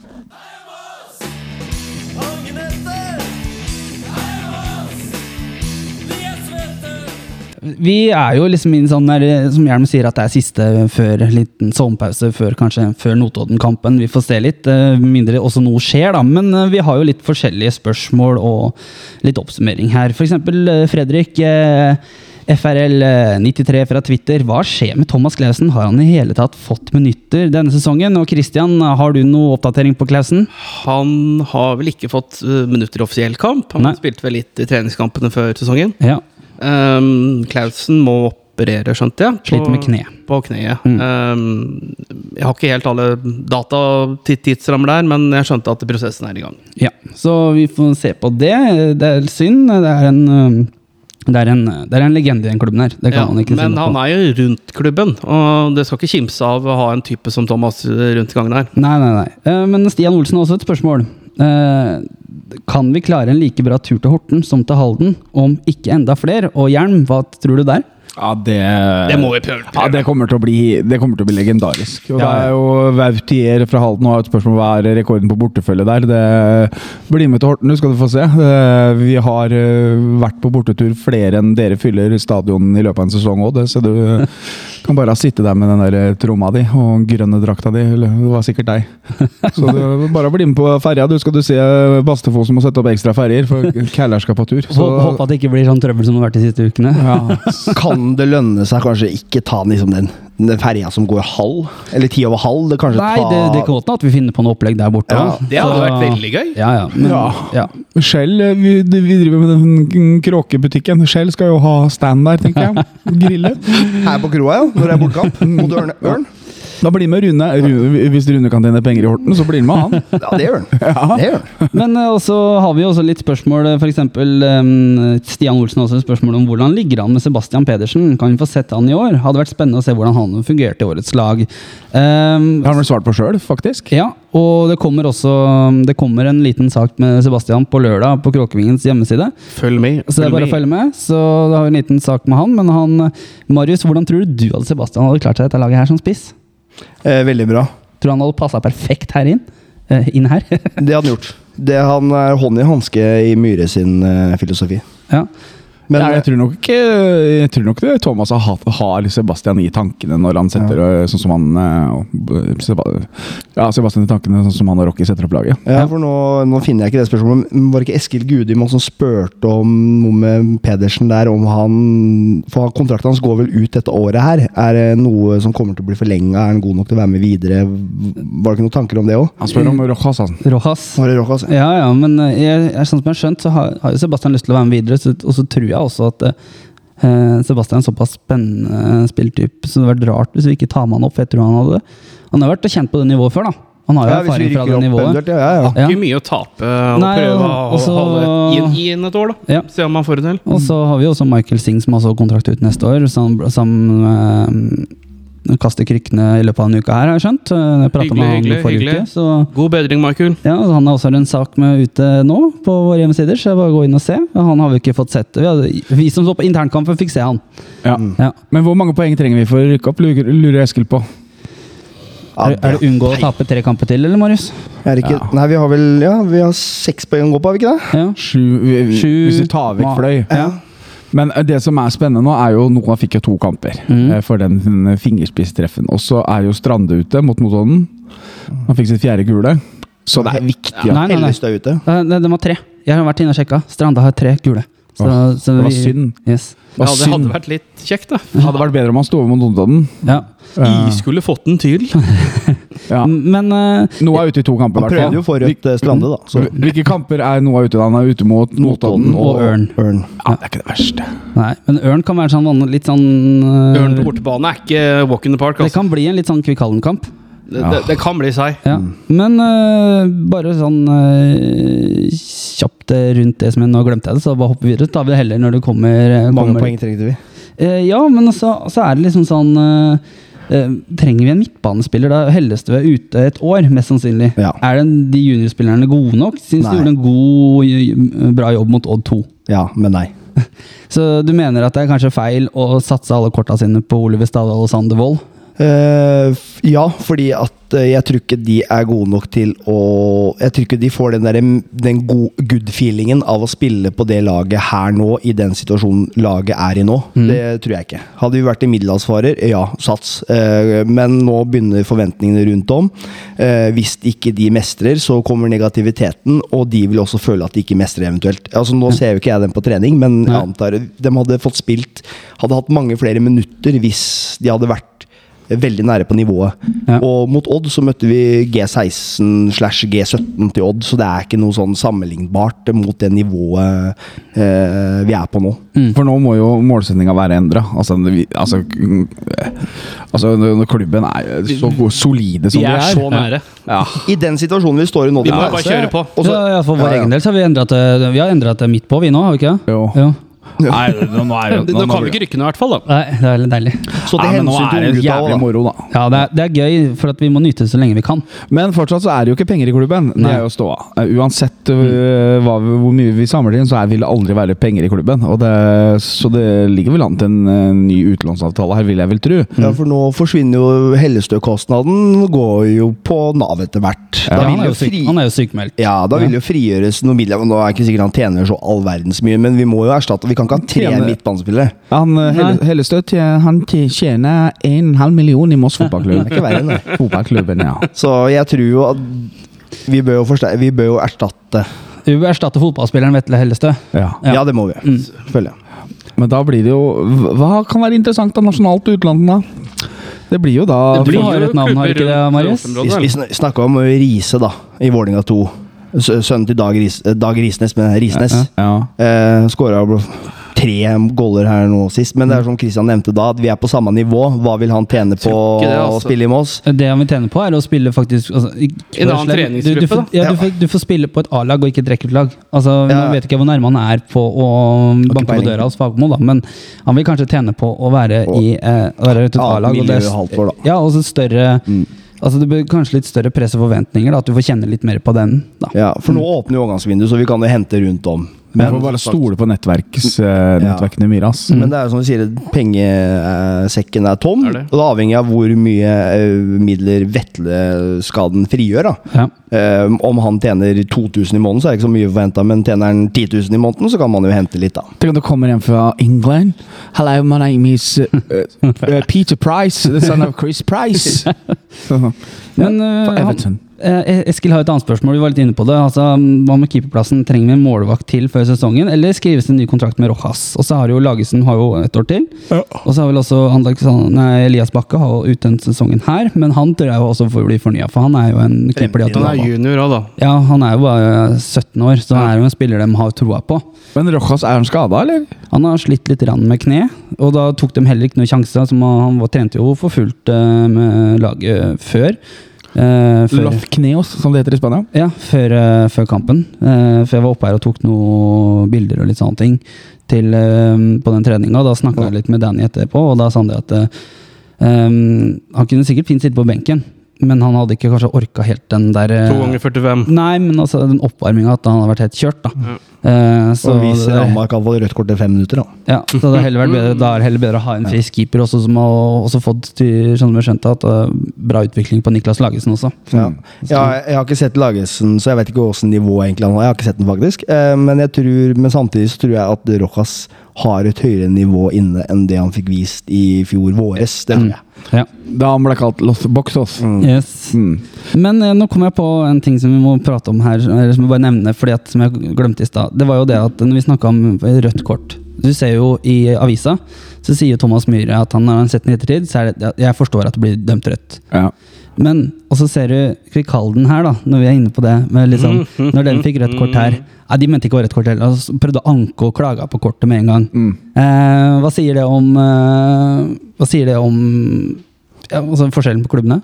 [SPEAKER 2] Vi er jo liksom i en sånn der, eh, som Hjelm sier, at det er siste før liten sovepause, før kanskje før Notodden-kampen. Vi får se litt, eh, mindre også noe skjer, da. Men eh, vi har jo litt forskjellige spørsmål og litt oppsummering her. F.eks. Fredrik. eh, FRL93 eh, fra Twitter. Hva skjer med Thomas Clausen? Har han i hele tatt fått minutter denne sesongen? Og Christian, har du noe oppdatering på Clausen?
[SPEAKER 4] Han har vel ikke fått eh, minutter i offisiell kamp. Han
[SPEAKER 2] Nei.
[SPEAKER 4] spilte vel litt i treningskampene før sesongen.
[SPEAKER 2] Ja.
[SPEAKER 4] Ehm, Klausen må operere, skjønte jeg.
[SPEAKER 2] Sliter med kne.
[SPEAKER 4] På kneet.
[SPEAKER 2] Mm.
[SPEAKER 4] Ehm, jeg har ikke helt alle data til tidsrammer der, men jeg skjønte at prosessen er i gang.
[SPEAKER 2] Ja, så vi får se på det. Det er synd. Det er en, øhm, det er en, det er en legende i den klubben her. Det kan
[SPEAKER 4] Ja,
[SPEAKER 2] man ikke si
[SPEAKER 4] men
[SPEAKER 2] noe
[SPEAKER 4] han
[SPEAKER 2] på.
[SPEAKER 4] er jo rundt klubben, og det skal ikke kimse av å ha en type som Thomas eh, rundt i gangen her.
[SPEAKER 2] Nei, nei, nei. Eh, Men Stian Olsen har også et spørsmål. Eh, Kan vi klare en like bra tur til Horten som til Halden, om ikke enda flere? Og Hjelm, hva tror du der?
[SPEAKER 1] Ja, det
[SPEAKER 4] Det må vi prøve.
[SPEAKER 1] Ja, det kommer til å bli, det kommer til å bli legendarisk. Og
[SPEAKER 2] Ja, ja.
[SPEAKER 1] Det er jo Vautier fra Halden og har et spørsmål hva er rekorden på bortefølge der. Det Bli med til Horten, du skal du få se. Eh, Vi har eh, vært på bortetur flere enn dere fyller stadion i løpet av en sesong òg, så du kan bare sitte der med den der eh, tromma di og den grønne drakta di. Eller, Det var sikkert deg. Så du, bare bli med på ferja, du skal du se Bastefoss må sette opp ekstra ferjer, for Kæller skal på tur.
[SPEAKER 2] Hå- Håper
[SPEAKER 1] Så,
[SPEAKER 2] at det ikke blir sånn trøbbel som det har vært de siste ukene.
[SPEAKER 1] ja,
[SPEAKER 3] Kan det lønne seg kanskje ikke ta liksom den, den ferja som går halv? Eller ti over halv? Det kanskje
[SPEAKER 2] Nei,
[SPEAKER 3] ta
[SPEAKER 2] det, det kan godt hende at vi finner på noe opplegg der borte.
[SPEAKER 3] Ja,
[SPEAKER 2] også.
[SPEAKER 4] det hadde
[SPEAKER 2] Så-
[SPEAKER 4] vært veldig gøy.
[SPEAKER 2] Ja, ja. Men,
[SPEAKER 1] Ja.
[SPEAKER 2] ja.
[SPEAKER 1] Shell, eh, vi, d- vi driver med den k- kråkebutikken. Shell skal jo ha stand der, tenker jeg. Grille.
[SPEAKER 3] Her på kroa, ja. Når det er bortekamp mot Ørn. ørn.
[SPEAKER 1] Da blir med Rune. Ru- Hvis Rune kan tjene penger i Horten, så blir han med han.
[SPEAKER 3] Ja, det gjør den. Det gjør den.
[SPEAKER 2] Men eh, også har vi jo også litt spørsmål, eh, f.eks. eh, Stian Olsen har også et spørsmål om hvordan ligger han med Sebastian Pedersen? Kan vi få sett han i år? Hadde vært spennende å se hvordan han fungerte i årets lag. Ehm,
[SPEAKER 1] Det har han vel svart på sjøl, faktisk.
[SPEAKER 2] ja, og det kommer også Det kommer en liten sak med Sebastian på lørdag på Kråkevingens hjemmeside.
[SPEAKER 4] Følg med.
[SPEAKER 2] Så det er bare å følge med. Så da har vi en liten sak med han. Men han Marius, hvordan tror du du hadde Sebastian hadde klart seg i dette laget her som spiss?
[SPEAKER 3] Eh, veldig bra.
[SPEAKER 2] Tror du han hadde passa perfekt her inn? Eh, inn her?
[SPEAKER 3] Det hadde han gjort. Det han er hånd i hanske i Myhre sin eh, filosofi.
[SPEAKER 2] ja.
[SPEAKER 3] Men
[SPEAKER 1] Nei, jeg, tror nok, ikke- jeg tror nok det Thomas har, hatt- har Sebastian i tankene når han setter eh, sånn som han eh, og, eh, Seba- Ja, Sebastian i tankene sånn som han og Rocky setter opp laget.
[SPEAKER 3] eh, Ja, for nå, nå finner jeg ikke det spørsmålet. Men var det ikke Eskil Gudimon som spurte om noe med Pedersen der, om han For han- kontrakten hans går vel ut dette året her. Er det noe som kommer til å bli forlenga? Er han god nok til å være med videre? Var det ikke noen tanker om det òg?
[SPEAKER 1] Han spør om Rojas, altså.
[SPEAKER 2] Rojas.
[SPEAKER 3] Var det Rock, altså?
[SPEAKER 2] Ja, ja, men eh, jeg, jeg, sånn som jeg har skjønt, så har, har jo Sebastian lyst til å være med videre. Så, og så tror jeg også at eh, Sebastian er en såpass spennende spilltype, så det hadde vært rart hvis vi ikke tar med han opp. for Jeg tror han hadde Han har vært kjent på det nivået før, da. Han har jo
[SPEAKER 3] Ja, hvis vi
[SPEAKER 2] erfaring fra
[SPEAKER 3] rykker
[SPEAKER 2] det
[SPEAKER 3] opp
[SPEAKER 2] nivået.
[SPEAKER 3] eventuelt, ja, ja, ja.
[SPEAKER 2] Ja.
[SPEAKER 4] Ikke mye å tape og
[SPEAKER 2] Nei,
[SPEAKER 4] prøve å
[SPEAKER 2] og så-
[SPEAKER 4] holde inn i inn et år, da.
[SPEAKER 2] Ja.
[SPEAKER 4] Se om han får det til.
[SPEAKER 2] Og så har vi jo også Michael Singh, som har så kontrakt ut neste år, som, som eh, kaster krykkene i løpet av denne uka her, har jeg skjønt. Eh, Jeg prata
[SPEAKER 4] Hyggelig,
[SPEAKER 2] med han
[SPEAKER 4] hyggelig,
[SPEAKER 2] forrige
[SPEAKER 4] hyggelig.
[SPEAKER 2] uke. så...
[SPEAKER 4] God bedring, Michael.
[SPEAKER 2] Ja, og Han har også en sak med ute nå, på våre hjemmesider. Så jeg bare gå inn og se. Han har vi ikke fått sett. Vi, hadde, vi som så på internkampen, fikk se han.
[SPEAKER 1] Ja.
[SPEAKER 2] Ja.
[SPEAKER 1] Men hvor mange poeng trenger vi for å rykke opp, lurer lurer Eskil på.
[SPEAKER 3] Ja,
[SPEAKER 2] er, er det unngå å tape tre kamper til, eller, Marius?
[SPEAKER 3] Er det ikke, Nei, vi har vel ja, vi har seks poeng å gå på, har vi ikke det?
[SPEAKER 2] Ja.
[SPEAKER 1] Sju, vi-
[SPEAKER 2] Sju-
[SPEAKER 1] Hvis vi tar vekk
[SPEAKER 2] Ma-
[SPEAKER 1] fløy. Men eh, det som er spennende nå, er jo Noah fikk jo to kamper
[SPEAKER 2] Mm.
[SPEAKER 1] eh, for den eh, fingerspisstreffen. Og så er jo Strande ute mot Notodden. Han fikk sitt fjerde gule. Så det er viktig. Ja.
[SPEAKER 2] Nei, nei, nei.
[SPEAKER 3] Hellestad ute.
[SPEAKER 2] Nei, nei, De har tre. Jeg har vært inne og sjekka. Stranda har tre gule. Så,
[SPEAKER 1] Åh,
[SPEAKER 2] så
[SPEAKER 1] det var
[SPEAKER 2] vi-
[SPEAKER 1] synd.
[SPEAKER 2] Yes.
[SPEAKER 1] Hva
[SPEAKER 4] Ja, det
[SPEAKER 1] synd.
[SPEAKER 4] hadde vært litt kjekt, da.
[SPEAKER 1] Hadde vært bedre om han sto over mot Notodden.
[SPEAKER 2] Ja.
[SPEAKER 4] I skulle fått en tyl.
[SPEAKER 1] Ja.
[SPEAKER 2] Men eh,
[SPEAKER 1] Noah er ute i to kamper, i
[SPEAKER 3] Han
[SPEAKER 1] hvert
[SPEAKER 3] prøvde jo
[SPEAKER 1] fall.
[SPEAKER 3] for Rødt eh, Strande, da. Så
[SPEAKER 1] Hvil- Hvilke kamper er Noah ute i? Han er ute mot Notodden
[SPEAKER 2] og
[SPEAKER 1] og
[SPEAKER 2] ørn.
[SPEAKER 3] Ørn.
[SPEAKER 1] Ja, det er ikke det verste.
[SPEAKER 2] Nei, men ørn kan være sånn vanlig- litt sånn eh,
[SPEAKER 4] Ørn på bortebane er ikke walk in the park.
[SPEAKER 2] Det
[SPEAKER 4] Altså.
[SPEAKER 2] kan bli en litt sånn Kvikallen-kamp.
[SPEAKER 4] Det, det, det kan bli seig.
[SPEAKER 2] Ja. Men eh, bare sånn eh, kjapt eh, rundt det som jeg nå glemte jeg det, så bare hoppe videre. Så tar vi det heller når det kommer. eh,
[SPEAKER 3] Mange
[SPEAKER 2] kommer
[SPEAKER 3] poeng trengte vi.
[SPEAKER 2] Eh, ja, men også, så er det liksom sånn eh, eh, Trenger vi en midtbanespiller? Da Hellestø er ute et år, mest sannsynlig.
[SPEAKER 3] Ja.
[SPEAKER 2] Er den, de juniorspillerne gode nok? Syns de
[SPEAKER 3] Nei.
[SPEAKER 2] gjorde en god, j- eh, bra jobb mot Odd 2.
[SPEAKER 3] Ja, men nei.
[SPEAKER 2] Så du mener at det er kanskje feil å satse alle korta sine på Oliver Stavdal og Sander Wold?
[SPEAKER 3] Eh, f- ja, fordi at eh, jeg tror ikke de er gode nok til å Jeg tror ikke de får den, der, den go good feelingen av å spille på det laget her nå, i den situasjonen laget er i nå. Det tror jeg ikke. Hadde vi vært i middelhavsfarer, ja, sats. Eh, men nå begynner forventningene rundt om. Eh, hvis ikke de mestrer, så kommer negativiteten, og de vil også føle at de ikke mestrer eventuelt. Altså Nå ser jo ikke jeg dem på trening, men jeg
[SPEAKER 2] Nei.
[SPEAKER 3] antar de hadde fått spilt Hadde hatt mange flere minutter hvis de hadde vært veldig nære på nivået.
[SPEAKER 2] Ja.
[SPEAKER 3] Og mot Odd så møtte vi G16 slash G17 til Odd, så det er ikke noe sånn sammenlignbart mot det nivået eh, vi er på nå.
[SPEAKER 4] Mm.
[SPEAKER 1] For nå må jo målsettinga være endra. Altså, vi- altså, k- altså når klubben er så gode, solide som
[SPEAKER 4] Vi
[SPEAKER 1] de er.
[SPEAKER 4] er så nære.
[SPEAKER 1] Ja.
[SPEAKER 3] I den situasjonen vi står i nå
[SPEAKER 4] Vi må bare kjøre på.
[SPEAKER 3] Og så-
[SPEAKER 2] ja, ja, for vår
[SPEAKER 3] Ja, ja.
[SPEAKER 2] egen del så har vi endret det, vi har endret det midt på, vi nå, har vi ikke det?
[SPEAKER 1] Jo.
[SPEAKER 2] Jo.
[SPEAKER 1] Nei, nå, nå er det
[SPEAKER 4] Nå kan vi ikke rykke ned, i hvert fall. da
[SPEAKER 2] Nei, det er veldig deilig.
[SPEAKER 3] Så til
[SPEAKER 1] Nei, men nå
[SPEAKER 3] hensyn
[SPEAKER 1] er
[SPEAKER 3] til
[SPEAKER 1] det
[SPEAKER 3] unggutta
[SPEAKER 1] jævlig
[SPEAKER 3] også, da.
[SPEAKER 1] moro, da.
[SPEAKER 2] Ja, det er, det er gøy, for at vi må nyte det så lenge vi kan.
[SPEAKER 1] Men fortsatt så er det jo ikke penger i klubben. Det
[SPEAKER 2] Nei.
[SPEAKER 1] er jo ståa. Eh, Uansett øh, hva, vi- hvor mye vi samler inn, så er, vil det aldri være penger i klubben. Og det, så det ligger vel an til en eh, ny utlånsavtale her, vil jeg vel tro.
[SPEAKER 3] Ja, for nå forsvinner jo Hellestø-kostnaden, går jo på Nav etter hvert.
[SPEAKER 2] Ja,
[SPEAKER 3] Da
[SPEAKER 2] han,
[SPEAKER 3] vil
[SPEAKER 2] er
[SPEAKER 3] jo
[SPEAKER 2] jo syk,
[SPEAKER 3] fri-
[SPEAKER 2] han er jo sykemeldt.
[SPEAKER 3] Ja, da vil jo frigjøres noen midler. Nå er ikke sikkert han tjener så all verdens mye, men vi må jo erstatte Vi kan ikke ha tre
[SPEAKER 1] Tjener-
[SPEAKER 3] midtbanespillere.
[SPEAKER 1] Han, eh, Helle- Hellestø tje- han tje- tjener en halv million i Moss fotballklubb.
[SPEAKER 3] Det er ikke verre enn det.
[SPEAKER 1] Fotballklubben, ja.
[SPEAKER 3] Så jeg tror jo at vi bør jo, forste- vi bør jo erstatte
[SPEAKER 2] Vi bør erstatte fotballspilleren Vetle Hellestø.
[SPEAKER 1] ja. Mm.
[SPEAKER 3] Ja, det må vi. Selvfølgelig.
[SPEAKER 1] Men da blir det jo Hva kan være interessant av nasjonalt til utlandet, da? Det blir jo da
[SPEAKER 2] Det blir-
[SPEAKER 1] for-
[SPEAKER 2] har et navn, har ikke det, Marius?
[SPEAKER 3] Vi, vi sn- snakka om Riise, da, i Vålinga 2. Sø- Sønnen til Dag, Ris, eh, Dag Risnes, men Risnes.
[SPEAKER 1] Ja.
[SPEAKER 3] Eh, Skåra tre goller her nå sist, men det er som Christian nevnte da, at vi er på samme nivå. Hva vil han tjene på
[SPEAKER 4] tror ikke det,
[SPEAKER 3] å
[SPEAKER 4] altså.
[SPEAKER 3] spille i Moss?
[SPEAKER 2] Det han vil tjene på, er å spille faktisk altså, ikke-
[SPEAKER 4] En annen treningsgruppe,
[SPEAKER 2] du, du, får,
[SPEAKER 4] da.
[SPEAKER 2] ja,
[SPEAKER 3] Ja.
[SPEAKER 2] du, får, du får spille på et A-lag og ikke et rekruttlag. Altså,
[SPEAKER 3] Ja.
[SPEAKER 2] Man vet ikke hvor nærme han er på å banke på
[SPEAKER 3] peiling.
[SPEAKER 2] døra hos Fagmo, da, men han vil kanskje tjene på å være
[SPEAKER 3] Og-
[SPEAKER 2] i eh, å være et
[SPEAKER 3] Ja,
[SPEAKER 2] A-lag. og det er-
[SPEAKER 3] miljø halvt år, da. Mm.
[SPEAKER 2] Ja, og så større Altså Det blir kanskje litt større press og forventninger. Da, at du får kjenne litt mer på den. Da.
[SPEAKER 3] Ja, for nå åpner jo overgangsvinduet, så vi kan jo hente rundt om.
[SPEAKER 1] Men får bare stole på nettverks, eh, nettverkene i Mm. Myras.
[SPEAKER 3] Men det er jo som du sier, pengesekken er tom.
[SPEAKER 4] Er Mm. det?
[SPEAKER 3] og det er avhengig av hvor mye eh, midler Vetle-skaden frigjør. da.
[SPEAKER 2] Ja.
[SPEAKER 3] Eh, om han tjener 2000 i måneden, så er det ikke så mye forventa, men tjener han 10 000 i måneden, så kan man jo hente litt, da.
[SPEAKER 1] Tenk om du kommer hjem fra England. Hello, my name is uh, uh, Peter Price, the son of Chris Price.
[SPEAKER 2] Men
[SPEAKER 1] Ja, for
[SPEAKER 2] eh, han,
[SPEAKER 1] Everton.
[SPEAKER 2] eh, Eskil har et annet spørsmål. Vi var litt inne på det. Altså, Hva med keeperplassen? Trenger vi en målvakt til før sesongen, eller skrives det en ny kontrakt med Rojas? Og så har jo Lagesen har jo et år til. Og så har vel også Alexan- nei, Elias Bakke har jo ut den sesongen her, men han tror jeg jo også får bli fornya, for han er jo en keeper de har
[SPEAKER 4] Han
[SPEAKER 2] troa
[SPEAKER 4] er
[SPEAKER 2] på.
[SPEAKER 4] junior òg, da.
[SPEAKER 2] Ja, han er jo bare 17 år, så han er jo en spiller de har troa på.
[SPEAKER 1] Men Rojas, er han skada, eller?
[SPEAKER 2] Han har slitt litt grann med kne, og da tok de heller ikke noen sjanser. Som han var, trente jo for fullt eh, med laget før. Eh, før
[SPEAKER 1] Lofkneos, som det heter i Spania.
[SPEAKER 2] ja, før, eh, før kampen. Eh, for jeg var oppe her og tok noen bilder og litt sånne ting til, eh, på den treninga. Da snakka jeg litt med Danny etterpå, og da sa han det at eh, ehm, Han kunne sikkert fint sitte på benken, men han hadde ikke kanskje orka helt den der eh,
[SPEAKER 4] To ganger 45.
[SPEAKER 2] Nei, men altså den oppvarminga at han hadde vært helt kjørt, da. Eh, så,
[SPEAKER 3] Så hvis
[SPEAKER 2] det,
[SPEAKER 3] Ramma kan få rødt kort til fem minutter, da.
[SPEAKER 2] ja, så det har heller vært bedre, da er det heller bedre å ha en frisk keeper, også, som har også fått til, sånn som jeg skjønte, at eh, bra utvikling på Niklas Lagesen også.
[SPEAKER 3] Ja. Ja, jeg har ikke sett Lagesen, så jeg vet ikke hvilket nivå egentlig han har. Jeg har ikke sett den faktisk. Eh, Men, jeg tror, men samtidig så tror jeg
[SPEAKER 4] Mm.
[SPEAKER 3] at Rojas har et høyere nivå inne enn det han fikk vist i fjor våres. Det tror jeg.
[SPEAKER 2] Ja.
[SPEAKER 1] Da han ble kalt Mm. Los Boxos.
[SPEAKER 2] Mm. Yes. Men eh, nå kom jeg på en ting som vi må prate om her, eller som jeg bare nevner, fordi at, som jeg glemte i stad. Det var jo det at når vi snakka om rødt kort Du ser jo i avisa, så sier jo Thomas Myhre at han har sett den i ettertid, så er det ja, Jeg forstår at det blir dømt rødt.
[SPEAKER 1] Ja.
[SPEAKER 2] Men og så ser du Kvikalden her, da, når vi er inne på det. Med liksom, når den fikk rødt kort her Nei, De mente ikke å ha rødt kort heller. Altså, prøvde å anke og klage på kortet med en gang.
[SPEAKER 1] Mm.
[SPEAKER 2] Eh, hva sier det om eh, Hva sier det om ja, altså, forskjellen på klubbene?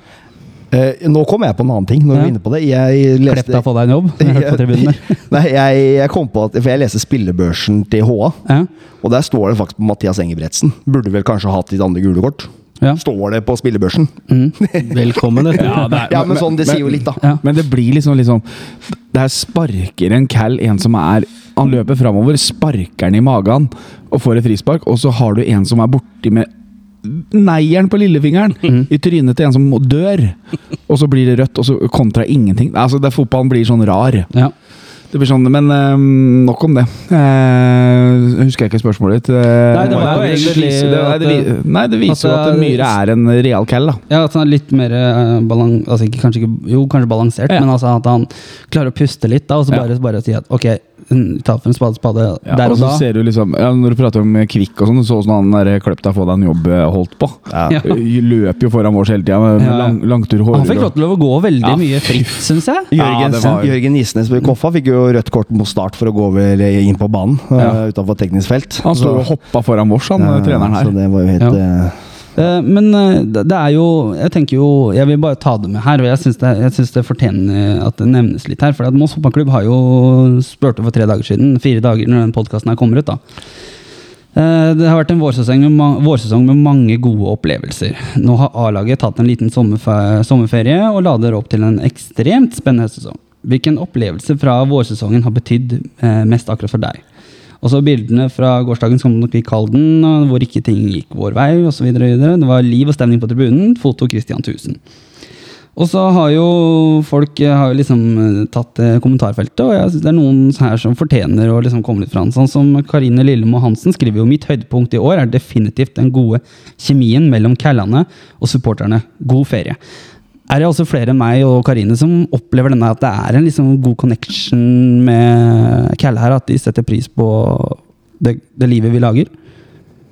[SPEAKER 3] Eh, nå kom jeg på en annen ting. når vi
[SPEAKER 2] Ja.
[SPEAKER 3] er inne på det. Jeg
[SPEAKER 2] Klepp deg
[SPEAKER 3] leste...
[SPEAKER 2] og få deg en jobb. Jeg hørte på tribunen der.
[SPEAKER 3] Nei, jeg, jeg kom på at, for jeg leste spillebørsen til HA,
[SPEAKER 2] Ja.
[SPEAKER 3] og der står det faktisk på Mathias Engebretsen. Burde vel kanskje hatt litt andre gule kort.
[SPEAKER 2] Ja.
[SPEAKER 3] Står det på spillebørsen?
[SPEAKER 4] Velkommen etter. Ja, det
[SPEAKER 3] Ja, men sånn, det sier jo litt, da.
[SPEAKER 2] Ja.
[SPEAKER 1] Men det blir liksom, liksom Der sparker en Cal en som er Han løper framover, sparker den i magen og får et frispark, og så har du en som er borti med Neieren på lillefingeren
[SPEAKER 2] Mhm.
[SPEAKER 1] i trynet til en som må- dør. Og så blir det rødt, og så kontra ingenting. Altså, det, fotballen blir sånn rar.
[SPEAKER 2] Ja.
[SPEAKER 1] Det blir sånn, Men eh, nok om det. Eh, husker jeg ikke spørsmålet ditt. Eh,
[SPEAKER 2] Nei, det var jo
[SPEAKER 1] det
[SPEAKER 2] egentlig
[SPEAKER 1] viser- det- nei, det vi-
[SPEAKER 2] at-
[SPEAKER 1] Nei, det viser jo
[SPEAKER 2] at
[SPEAKER 1] at
[SPEAKER 2] det er-
[SPEAKER 1] Myhre er en real Cal, da.
[SPEAKER 2] ja, at han er litt mer eh, balan altså ikke, kanskje ikke, Jo, kanskje balansert,
[SPEAKER 1] Ja.
[SPEAKER 2] men altså at han klarer å puste litt, da, og så
[SPEAKER 1] Ja.
[SPEAKER 2] bare, bare si at ok, mm, ta for en spade spade
[SPEAKER 1] Ja,
[SPEAKER 2] der
[SPEAKER 1] og
[SPEAKER 2] og
[SPEAKER 1] så
[SPEAKER 2] da.
[SPEAKER 1] ser du liksom ja, Når du prater om Kvikk og sånn, du så åssen han der kløp deg få deg en jobb eh, holdt på.
[SPEAKER 2] Ja.
[SPEAKER 1] Løp jo foran vårs hele tida med med
[SPEAKER 2] Ja, ja.
[SPEAKER 1] lang, langtur hår.
[SPEAKER 2] Han fikk lov til å gå veldig
[SPEAKER 1] Ja,
[SPEAKER 2] mye
[SPEAKER 1] fy
[SPEAKER 2] fritt, syns jeg.
[SPEAKER 1] Ja, det
[SPEAKER 3] Jørgensen,
[SPEAKER 1] var jo-
[SPEAKER 3] Jørgen Isnes ved Koffa fikk jo rødt kort mot start for å gå over inn på banen.
[SPEAKER 1] Ja.
[SPEAKER 3] eh, Utenfor teknisk felt.
[SPEAKER 1] Han sto
[SPEAKER 3] Så-
[SPEAKER 1] og hoppa foran vårs, han
[SPEAKER 3] Ja,
[SPEAKER 1] treneren her.
[SPEAKER 3] Så det var jo helt
[SPEAKER 2] Ja.
[SPEAKER 3] eh,
[SPEAKER 2] Eh, Men eh, det det er jo Jeg tenker jo Jeg vil bare ta det med her, og jeg syns det, jeg synes det fortjener eh, at det nevnes litt her. For at Moss fotballklubb har jo spurte for tre dager siden, fire dager når den podkasten her kommer ut, da. Eh, Det har vært en vårsesong med, ma- vårsesong med mange gode opplevelser. Nå har A-laget tatt en liten sommerfe- sommerferie og lader opp til en ekstremt spennende høstsesong. Hvilken opplevelse fra vårsesongen har betydd eh, mest akkurat for deg? Og så bildene fra gårsdagens kom nok i Kalden, og hvor ikke ting gikk vår vei osv. Det var liv og stemning på tribunen. Foto Christian 1000. Og så har jo folk eh, har jo liksom eh, tatt eh, kommentarfeltet, og jeg synes det er noen her som fortjener å liksom komme litt fra den. Sånn som Karine Lillemo Hansen skriver jo mitt høydepunkt i år er definitivt den gode kjemien mellom callene og supporterne. God ferie. Er det også flere enn meg og Karine som opplever denne at det er en liksom god connection med calle her, at de setter pris på det, det livet vi lager?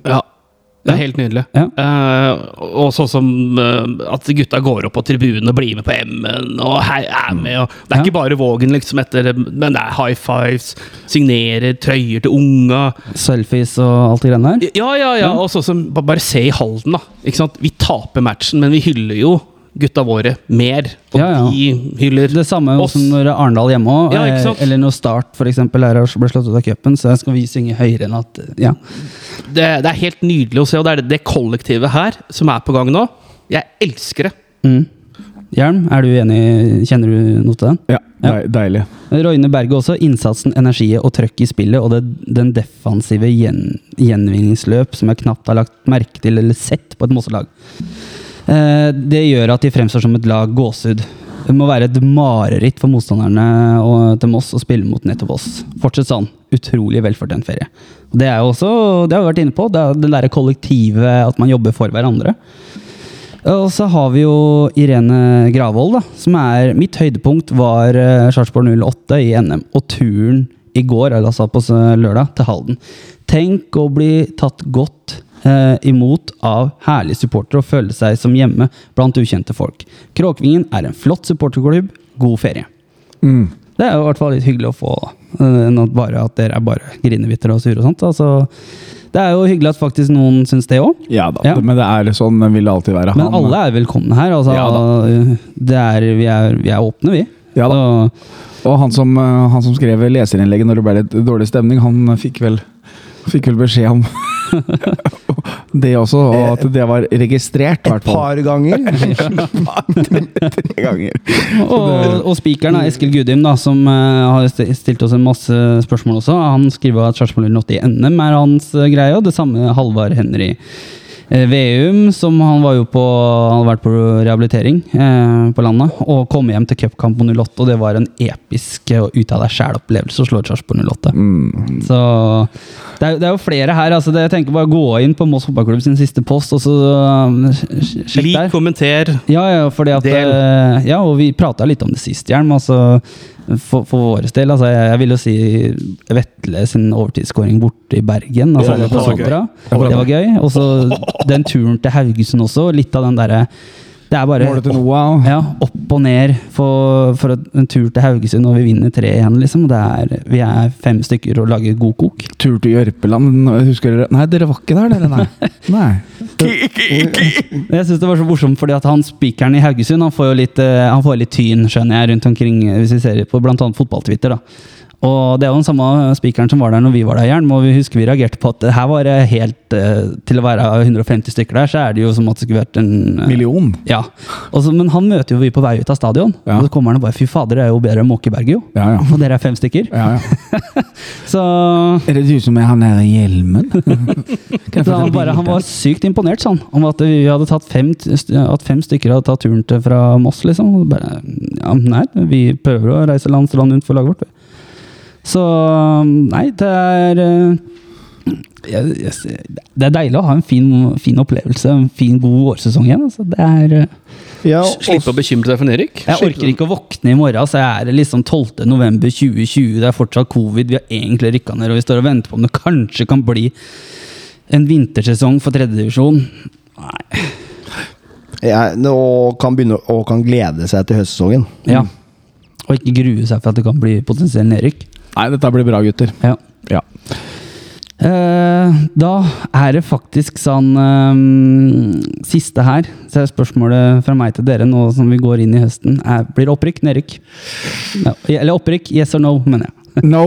[SPEAKER 4] Ja. Det er helt nydelig.
[SPEAKER 2] Ja.
[SPEAKER 4] Eh, og sånn som eh, at gutta går opp på tribunen og blir med på M-en og hei, er med. Og det
[SPEAKER 2] Ja.
[SPEAKER 4] er ikke bare Vågen, liksom, etter, men det er high fives, signerer, trøyer til unga.
[SPEAKER 2] Selfies og alt det greiene der?
[SPEAKER 4] Ja, ja, ja. Og sånn som ba- Bare se i Halden, da. Ikke sant? Vi taper matchen, men vi hyller jo gutta våre mer. Og
[SPEAKER 2] Ja, ja.
[SPEAKER 4] de hyller
[SPEAKER 2] Det samme
[SPEAKER 4] oss.
[SPEAKER 2] som når Arendal hjemme òg,
[SPEAKER 4] Ja, ikke sant?
[SPEAKER 2] eller når Start for eksempel, er og ble slått ut av cupen, så skal vi synge høyere enn at Ja.
[SPEAKER 4] det, det er helt nydelig å se, og det er det, det kollektivet her som er på gang nå. Jeg elsker det.
[SPEAKER 2] Mm. Hjelm, er du enig? Kjenner du noe til den?
[SPEAKER 1] Ja, dei- deilig.
[SPEAKER 2] Roine Berge også. Innsatsen, energiet og trøkk i spillet og det, den defensive gjen, gjenvinningsløp som jeg knapt har lagt merke til eller sett på et Mosselag. Eh, det gjør at de fremstår som et lag gåsehud. Det må være et mareritt for motstanderne og, til Moss å spille mot nettopp oss. Fortsett sånn. Utrolig velfortjent ferie. Og det er jo også, det har vi vært inne på, det er det derre kollektivet, at man jobber for hverandre. Eh, Og så har vi jo Irene Gravold, da, som er Mitt høydepunkt var eh, Sarpsborg 08 i NM, og turen i går, eller altså på s- lørdag, til Halden. Tenk å bli tatt godt eh, imot av herlige supportere og føle seg som hjemme blant ukjente folk. Kråkvingen er en flott supporterklubb. God ferie.
[SPEAKER 1] Mm.
[SPEAKER 2] Det er jo i hvert fall litt hyggelig å få, eh, enn at bare at dere er bare grinebitre og sure og sånt. Altså, det er jo hyggelig at faktisk noen syns det òg.
[SPEAKER 1] Ja da,
[SPEAKER 2] Ja.
[SPEAKER 1] men det er sånn den vil det alltid være. eh.
[SPEAKER 2] Men alle er velkomne her. Altså,
[SPEAKER 1] Ja
[SPEAKER 2] det er, vi, er, vi er åpne, vi.
[SPEAKER 1] Ja da.
[SPEAKER 2] Så-
[SPEAKER 1] Og han som, eh, han som skrev leserinnlegget når det ble litt dårlig stemning, han eh, fikk vel, fikk vel beskjed om det også, og at det var registrert, i
[SPEAKER 3] Et
[SPEAKER 1] hvert fall.
[SPEAKER 3] par ganger.
[SPEAKER 1] Tre ganger.
[SPEAKER 2] og, og spikeren er Eskil Gudim, da, som eh, har st- stilt oss en masse spørsmål også. Han skriver at Sarpsborg 08 i NM er hans eh, greie, og det samme Halvard Henry eh, Veum, som han var jo på Han hadde vært på rehabilitering eh, på landet, og kom hjem til cupkamp på 08, og det var en episk eh, og ut av deg sjæl-opplevelse å slå Sarpsborg 08. Så det er, det er jo flere her. Altså, det, jeg tenker bare gå inn på Moss Fotballklubb sin siste post, og så eh, sj- sjekk
[SPEAKER 4] Lik,
[SPEAKER 2] der.
[SPEAKER 4] kommenter.
[SPEAKER 2] Ja, ja, fordi at,
[SPEAKER 4] Del.
[SPEAKER 2] eh, ja, og vi prata litt om det sist, Hjelm. Altså, for, for vår del. Altså, jeg, jeg vil jo si Vetle sin overtidsskåring borte i Bergen. Altså,
[SPEAKER 3] Ja, det
[SPEAKER 2] på
[SPEAKER 3] var gøy.
[SPEAKER 2] Sotra. Det var gøy. Og så den turen til Haugesund også. Litt av den derre Det er bare
[SPEAKER 1] Målet til Noah.
[SPEAKER 2] ja, opp og ned for, for en tur til Haugesund, og vi vinner 3-1, liksom. Det er, vi er fem stykker og lager god kok.
[SPEAKER 1] Tur til Jørpeland, husker dere? Nei, dere var ikke der, dere, nei. nei.
[SPEAKER 2] Men Jeg synes det var så morsomt, fordi at han spikeren i Haugesund han får jo litt, eh, han får litt tyn skjønner jeg, rundt omkring, eh, hvis vi ser på bl.a. fotballtwitter. da. Og Det er jo den samme eh, spikeren som var der når vi var der, Jern. Og vi husker vi reagerte på at eh, her var det helt eh, Til å være 150 stykker der, så er det jo som at det skulle vært en eh,
[SPEAKER 1] Million.
[SPEAKER 2] Ja. Og så- men han møter jo vi på vei ut av stadion,
[SPEAKER 1] Ja.
[SPEAKER 2] og så kommer han og bare Fy fader, det er jo bedre enn Måkeberget, jo.
[SPEAKER 1] Ja, ja.
[SPEAKER 2] Og dere er fem stykker.
[SPEAKER 1] Ja, ja.
[SPEAKER 2] Så
[SPEAKER 1] Er det du som er han der i hjelmen? Kan jeg
[SPEAKER 2] Så
[SPEAKER 1] få
[SPEAKER 2] han,
[SPEAKER 1] et
[SPEAKER 2] bare,
[SPEAKER 1] bilde?
[SPEAKER 2] han var sykt imponert sånn, om at vi hadde tatt fem, at fem stykker hadde tatt turen til fra Moss. liksom. Og Bare, ja, nei, vi prøver å reise land til land rundt for laget vårt. vi. Så um, nei, det er eh, jeg, jeg, ser- Det er deilig å ha en fin, fin opplevelse, en fin, god vårsesong igjen. altså. Det er... eh,
[SPEAKER 3] Ja,
[SPEAKER 4] S- Slippe å bekymre seg for Erik.
[SPEAKER 2] jeg orker ikke å våkne i morgen, så jeg er liksom 12. november 2020. Det er fortsatt covid, vi har egentlig rykka ned, og vi står og venter på om det kanskje kan bli en vintersesong for tredjedivisjon.
[SPEAKER 3] jeg, og, kan begynne, og kan glede seg til høstsesongen.
[SPEAKER 2] Ja. Og ikke grue seg for at det kan bli potensiell nedrykk.
[SPEAKER 1] Nei, dette blir bra, gutter.
[SPEAKER 2] Ja.
[SPEAKER 1] Ja.
[SPEAKER 2] Eh, da er det faktisk sånn eh, Siste her, så er spørsmålet fra meg til dere nå som vi går inn i høsten, er, blir det opprykk, nedrykk? Ja, eller opprykk, yes or no, mener jeg.
[SPEAKER 1] No.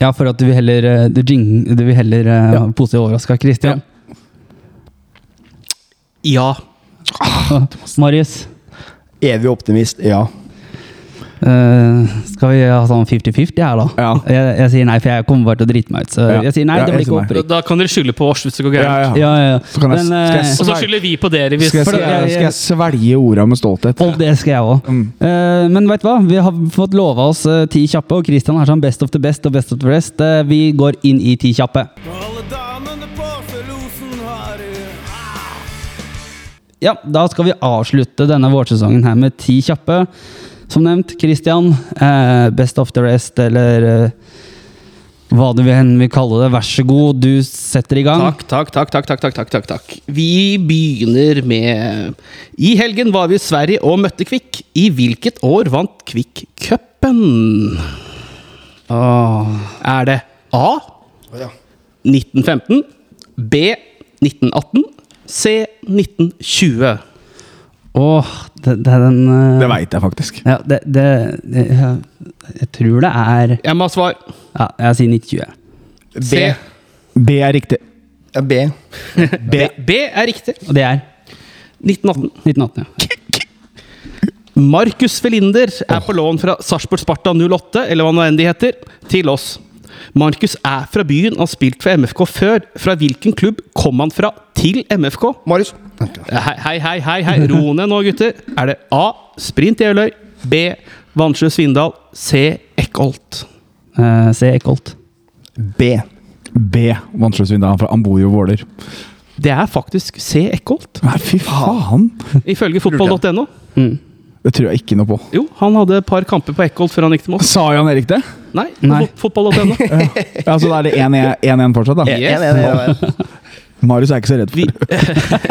[SPEAKER 2] Ja, for at du vil heller, eh, du jing, du vil heller eh, ha positivt overraska Christian.
[SPEAKER 4] Ja.
[SPEAKER 2] Marius,
[SPEAKER 3] Evig optimist, ja.
[SPEAKER 2] eh, skal vi ha sånn 50-50 her, da?
[SPEAKER 1] Ja.
[SPEAKER 2] Jeg, jeg sier nei, for jeg kommer bare til å drite meg ut. Så
[SPEAKER 1] Ja.
[SPEAKER 2] jeg sier nei,
[SPEAKER 1] Ja,
[SPEAKER 2] det blir
[SPEAKER 1] jeg
[SPEAKER 2] ikke
[SPEAKER 1] sier
[SPEAKER 4] Da,
[SPEAKER 2] opprykk.
[SPEAKER 4] da kan dere skylde på oss hvis det går
[SPEAKER 1] Ja,
[SPEAKER 4] gærent.
[SPEAKER 1] ja.
[SPEAKER 2] Ja, ja, ja.
[SPEAKER 1] Så kan jeg-
[SPEAKER 2] Men,
[SPEAKER 1] skal jeg
[SPEAKER 2] eh,
[SPEAKER 1] s-
[SPEAKER 4] Og så skylder vi på dere hvis
[SPEAKER 1] Skal jeg,
[SPEAKER 2] For det-
[SPEAKER 1] skal,
[SPEAKER 2] jeg-
[SPEAKER 1] skal jeg svelge orda med stolthet?
[SPEAKER 2] Og det skal jeg òg.
[SPEAKER 1] Mm.
[SPEAKER 2] Eh, men veit du hva? Vi har fått lova oss eh, ti kjappe, og Christian har sånn best of the best og best of the rest. Eh, vi går inn i ti kjappe.
[SPEAKER 5] Alle damene på Losen har
[SPEAKER 2] Ja, da skal vi avslutte denne vårsesongen her med ti kjappe. Som nevnt, Christian. eh, best of the rest, eller eh, hva du vil hen vil kalle det. Vær så god, du setter i gang.
[SPEAKER 4] Takk, takk, takk, takk, takk, takk, takk, takk, takk. Vi begynner med I helgen var vi i Sverige og møtte Kvikk. I hvilket år vant Kvikk cupen? Er det A. 1915. B. 1918. C. 1920.
[SPEAKER 2] Åh, det, det er den eh,
[SPEAKER 1] Det veit jeg faktisk.
[SPEAKER 2] Ja, det, det, det jeg, jeg tror det er
[SPEAKER 4] Jeg må ha svar.
[SPEAKER 2] Ja, jeg sier 1920.
[SPEAKER 3] B.
[SPEAKER 4] C.
[SPEAKER 1] B er riktig.
[SPEAKER 3] Ja, B.
[SPEAKER 4] B, B er riktig.
[SPEAKER 2] Og det er
[SPEAKER 4] 1918.
[SPEAKER 2] 1918, ja.
[SPEAKER 4] Markus Felinder er på lån fra Sarpsborg Sparta 08, eller hva nå enn de heter, til oss. Markus er fra byen og har spilt for MFK før. Fra hvilken klubb kom han fra til MFK?
[SPEAKER 3] Marius.
[SPEAKER 4] Hei, hei, hei, hei, hei. ro ned nå, gutter. Er det A. Sprint Jeløy. B. Vannsjø Svindal. C. Eckholt.
[SPEAKER 2] Eh, Se Eckholt.
[SPEAKER 3] B.
[SPEAKER 1] B. Vannsjøsvindalen fra Ambojo Våler.
[SPEAKER 4] Det er faktisk C. Eckholt,
[SPEAKER 1] Nei, fy faen!
[SPEAKER 4] ifølge fotball.no.
[SPEAKER 1] Det tror jeg ikke noe på.
[SPEAKER 4] Jo, han hadde et par kamper på Eckholt før han gikk til Moss.
[SPEAKER 1] Sa Jan Erik det?
[SPEAKER 4] Nei,
[SPEAKER 2] Nei.
[SPEAKER 4] på fot- fotball.no.
[SPEAKER 1] Ja, Så da er det 1-1 fortsatt, da?
[SPEAKER 4] Yes.
[SPEAKER 3] En, en, en, en.
[SPEAKER 1] Marius er ikke så redd for
[SPEAKER 4] Vi,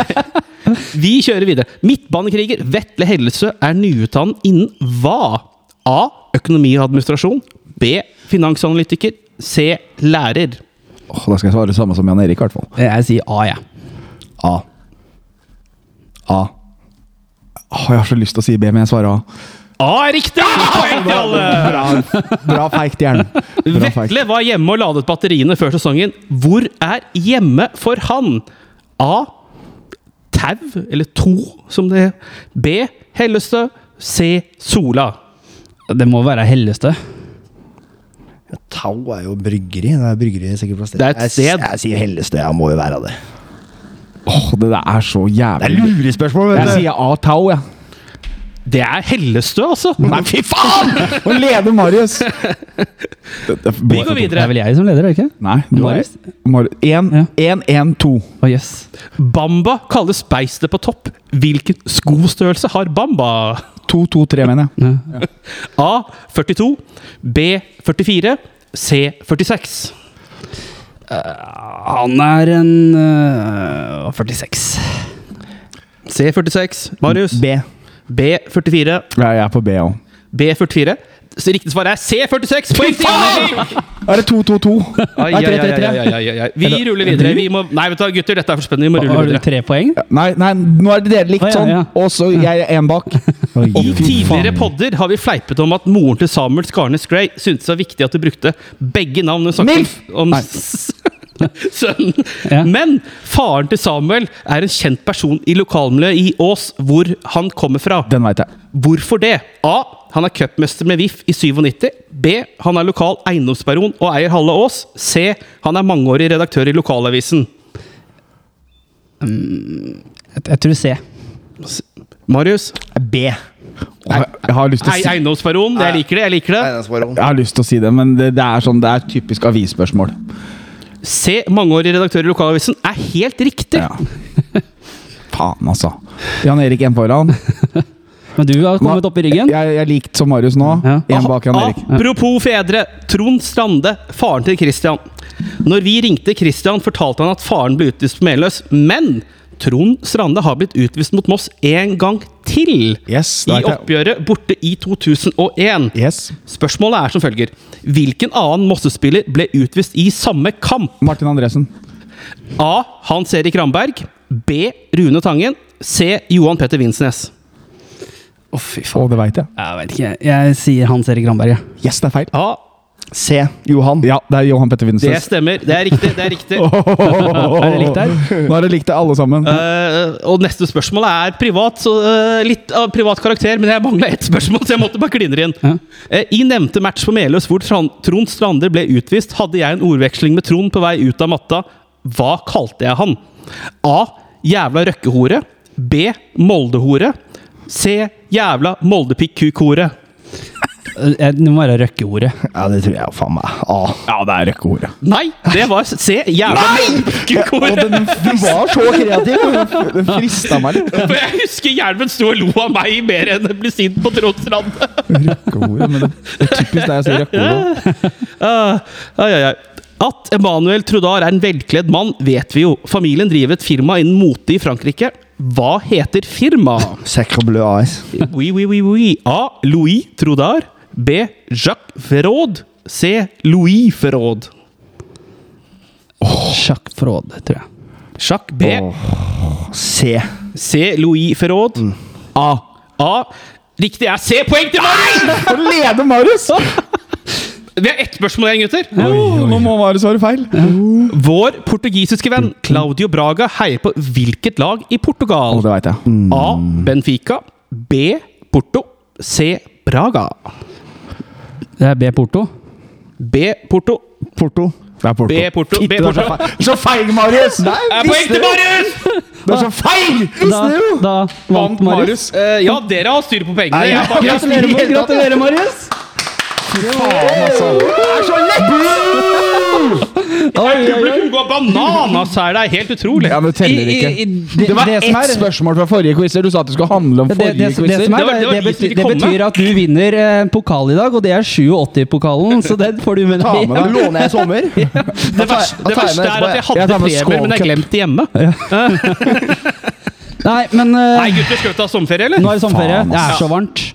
[SPEAKER 4] vi kjører videre. Midtbanekriger Vetle Hellesø er nyutdannet innen hva? A. Økonomi og administrasjon. B. Finansanalytiker. C. Lærer.
[SPEAKER 1] Åh, Da skal jeg svare det samme som Jan Erik, i hvert fall.
[SPEAKER 2] Jeg sier A, jeg.
[SPEAKER 1] A. A. Åh, jeg har så lyst til å si B, men jeg svarer A.
[SPEAKER 4] A er riktig! Poeng til alle!
[SPEAKER 1] Bra, bra feigt jern. Bra feigt.
[SPEAKER 4] Vetle var hjemme og ladet batteriene før sesongen. Hvor er hjemme for han? A. Tau, eller To, som det er. B. Hellestø. C. Sola.
[SPEAKER 2] Det må være Hellestø.
[SPEAKER 3] Tau er jo bryggeri. Det er bryggeri sikkert plass til.
[SPEAKER 4] Det er et
[SPEAKER 3] Jeg s-
[SPEAKER 4] sted.
[SPEAKER 3] Jeg sier Hellestø. Jeg må jo være av det.
[SPEAKER 1] Åh, det der er så
[SPEAKER 3] Det er
[SPEAKER 1] jævlig
[SPEAKER 3] lurespørsmål,
[SPEAKER 1] Jeg
[SPEAKER 3] vet du!
[SPEAKER 1] sier A-Tau, jeg.
[SPEAKER 4] Det er Hellestø, altså!
[SPEAKER 1] Nei, fy faen! Nå leder Marius!
[SPEAKER 4] Vi
[SPEAKER 2] Det er
[SPEAKER 4] går videre.
[SPEAKER 2] vel jeg som leder, er det ikke?
[SPEAKER 1] Nei, du har
[SPEAKER 2] Marius?
[SPEAKER 1] 1-1-2.
[SPEAKER 2] Å, jøss.
[SPEAKER 4] Bamba kalles beistet på topp. Hvilken skostørrelse har Bamba?
[SPEAKER 1] 2-2-3, mener jeg.
[SPEAKER 4] A. 42. B. 44. C. 46.
[SPEAKER 2] Han er en øh, 46.
[SPEAKER 4] C. 46. Marius.
[SPEAKER 3] B.
[SPEAKER 4] B. 44.
[SPEAKER 1] Ja, jeg er på B òg.
[SPEAKER 4] B. 44. Så riktig svar er C. 46. Poeng til Henrik!
[SPEAKER 1] Er det 2-2-2?
[SPEAKER 4] Ai,
[SPEAKER 1] Nei,
[SPEAKER 4] ai,
[SPEAKER 1] tre,
[SPEAKER 4] ai,
[SPEAKER 1] tre, tre.
[SPEAKER 4] ai, ai, ai, ai. Vi ruller videre. Vi må, nei, vet du hva, gutter, dette er for spennende. Vi må rulle
[SPEAKER 2] Har du
[SPEAKER 4] videre.
[SPEAKER 2] tre poeng?
[SPEAKER 1] Nei, nei, nå er det dere likt
[SPEAKER 2] Å, ja,
[SPEAKER 1] sånn,
[SPEAKER 2] ja.
[SPEAKER 1] og så jeg er én bak.
[SPEAKER 4] I tidligere podder har vi fleipet om at moren til Samuel Skarnes Gray syntes det var viktig at du brukte begge navn. Hun snakket
[SPEAKER 1] Milf!
[SPEAKER 4] om
[SPEAKER 1] Nei.
[SPEAKER 4] sønnen.
[SPEAKER 2] Ja.
[SPEAKER 4] Men faren til Samuel er en kjent person i lokalmiljøet i Ås, hvor han kommer fra.
[SPEAKER 1] Den veit jeg.
[SPEAKER 4] Hvorfor det? A. Han er cupmester med VIF i 97. B. Han er lokal eiendomsbaron og eier halve Ås. C. Han er mangeårig redaktør i lokalavisen.
[SPEAKER 2] Jeg, jeg tror C.
[SPEAKER 4] Marius.
[SPEAKER 3] B.
[SPEAKER 1] Jeg, jeg har lyst til å
[SPEAKER 4] Ei,
[SPEAKER 1] si
[SPEAKER 4] eiendomsbaron. Jeg liker det. jeg liker det.
[SPEAKER 3] Eiendomsbaron.
[SPEAKER 1] jeg har lyst til å si det, men det, det er sånn, det er typisk avisspørsmål.
[SPEAKER 4] C. Mangeårig redaktør i lokalavisen er helt riktig.
[SPEAKER 1] Ja. Faen, altså. Jan Erik en foran.
[SPEAKER 2] Men du har kommet opp i ryggen.
[SPEAKER 1] Jeg, jeg er likt som Marius nå.
[SPEAKER 2] Ja.
[SPEAKER 1] Én bak
[SPEAKER 4] Ah,
[SPEAKER 1] Jan Erik.
[SPEAKER 4] Apropos fedre. Trond Strande, faren til Christian. Når vi ringte Christian, fortalte han at faren ble utvist på Meløs, men Trond Strande har blitt utvist mot Moss en gang til.
[SPEAKER 1] Yes, det
[SPEAKER 4] I
[SPEAKER 1] vet jeg.
[SPEAKER 4] oppgjøret borte i 2001.
[SPEAKER 1] Yes.
[SPEAKER 4] Spørsmålet er som følger Hvilken annen Mosse-spiller ble utvist i samme kamp?
[SPEAKER 1] Martin Andresen.
[SPEAKER 4] A. Hans Erik Ramberg. B. Rune Tangen. C. Johan Petter Vinsnes.
[SPEAKER 2] Å, fy
[SPEAKER 1] Å, det veit jeg.
[SPEAKER 2] Jeg vet ikke. Jeg sier Hans Erik Ramberg, jeg.
[SPEAKER 1] Yes, det er feil.
[SPEAKER 4] A.
[SPEAKER 3] C. Johan.
[SPEAKER 1] Ja, det er Johan Petter
[SPEAKER 4] Det
[SPEAKER 1] Vinsnes.
[SPEAKER 4] stemmer. Det er riktig. det er riktig
[SPEAKER 1] Er
[SPEAKER 2] det likt der?
[SPEAKER 1] Nå er det likt der, alle sammen.
[SPEAKER 4] Eh, og neste spørsmål er privat, så, eh, litt av privat karakter, men jeg mangla ett spørsmål, så jeg måtte bare kline det inn. Eh, I nevnte match på Meløs hvor Tran- Trond Strander ble utvist, hadde jeg en ordveksling med Trond på vei ut av matta. Hva kalte jeg han? A. Jævla røkkehore. B. Moldehore. C. Jævla moldepikk-kuk-hore.
[SPEAKER 2] Eh, Jeg- Det må være Røkke-ordet.
[SPEAKER 3] Ja, det tror jeg jo faen meg. A.
[SPEAKER 1] Ja, det er røkkeordet.
[SPEAKER 4] Nei, det var C. Jævla
[SPEAKER 1] Og
[SPEAKER 4] moldepikk-kuk-hore.
[SPEAKER 1] den, den var så kreativ! og Den frista meg litt.
[SPEAKER 4] For jeg husker Hjelmen sto og lo av meg mer enn å bli sint på Trond Strander.
[SPEAKER 1] Røkkeordet, men det det er typisk det jeg sier røkkeordet.
[SPEAKER 4] Ah, ai, ai, ai. At Emanuel Trudar er en velkledd mann, vet vi jo. Familien driver et firma innen mote i Frankrike. Hva heter firmaet?
[SPEAKER 3] Sacre bleu AS.
[SPEAKER 4] Oui, oui, oui, oui. A. Louis Trudar. B. Jacques Ferraud. C. Louis Ferraud.
[SPEAKER 2] Sjakk Fraud, tror jeg.
[SPEAKER 4] Jacques B.
[SPEAKER 3] C.
[SPEAKER 4] C. Louis Ferraud. A. A. Riktig er C. Poeng til Marius!
[SPEAKER 1] Å lede Marius!
[SPEAKER 4] Vi har ett spørsmål igjen, gutter.
[SPEAKER 1] Åh, nå må Marius være feil. Å,
[SPEAKER 4] Vår portugisiske venn Claudio Braga heier på hvilket lag i Portugal?
[SPEAKER 1] det veit jeg.
[SPEAKER 4] A. Benfica. B. Porto. C. Braga.
[SPEAKER 2] Det er B. Porto.
[SPEAKER 4] B. Porto.
[SPEAKER 1] Porto. Det er Porto.
[SPEAKER 4] B. Porto. B.
[SPEAKER 1] Fitte, du er så
[SPEAKER 4] Porto.
[SPEAKER 1] feil- Så feil, Marius! Nei,
[SPEAKER 4] Er poeng til Marius!
[SPEAKER 1] Du er så feil!
[SPEAKER 2] Da, da vant Marius.
[SPEAKER 4] Eh, ja, dere har styr på pengene.
[SPEAKER 3] Nei,
[SPEAKER 4] Jeg bare-
[SPEAKER 2] Gratulerer, Marius. Gratulerer, Marius!
[SPEAKER 1] Faen, altså. Det er så lett!
[SPEAKER 4] Publikum går bananas her, det er helt utrolig.
[SPEAKER 1] Ja, men det teller ikke.
[SPEAKER 2] I- i- det-
[SPEAKER 1] Det var
[SPEAKER 2] det som
[SPEAKER 1] ett
[SPEAKER 2] er-
[SPEAKER 1] spørsmål fra forrige quizer. Du sa at det skulle handle om
[SPEAKER 2] Det, det,
[SPEAKER 1] forrige
[SPEAKER 2] det, det, som
[SPEAKER 1] quizer.
[SPEAKER 2] er,
[SPEAKER 4] Det var- det
[SPEAKER 2] det,
[SPEAKER 4] var
[SPEAKER 2] det,
[SPEAKER 4] dit vi
[SPEAKER 2] betyr, det
[SPEAKER 4] kom,
[SPEAKER 2] betyr at du vinner eh, en pokal i dag, og det er 87-pokalen, så den får du med
[SPEAKER 3] Ta med deg.
[SPEAKER 2] deg.
[SPEAKER 3] Låner jeg i sommer?
[SPEAKER 4] det verste, det verste er at jeg
[SPEAKER 1] Jeg
[SPEAKER 4] hadde
[SPEAKER 1] tar med
[SPEAKER 4] premier, men jeg
[SPEAKER 1] skålcup.
[SPEAKER 4] glemte det hjemme.
[SPEAKER 2] Nei, men eh,
[SPEAKER 4] Nei, gutter, skal vi ta sommerferie,
[SPEAKER 2] nå
[SPEAKER 4] eller?
[SPEAKER 2] er det sommerferie.
[SPEAKER 1] Faen,
[SPEAKER 2] Det er så varmt.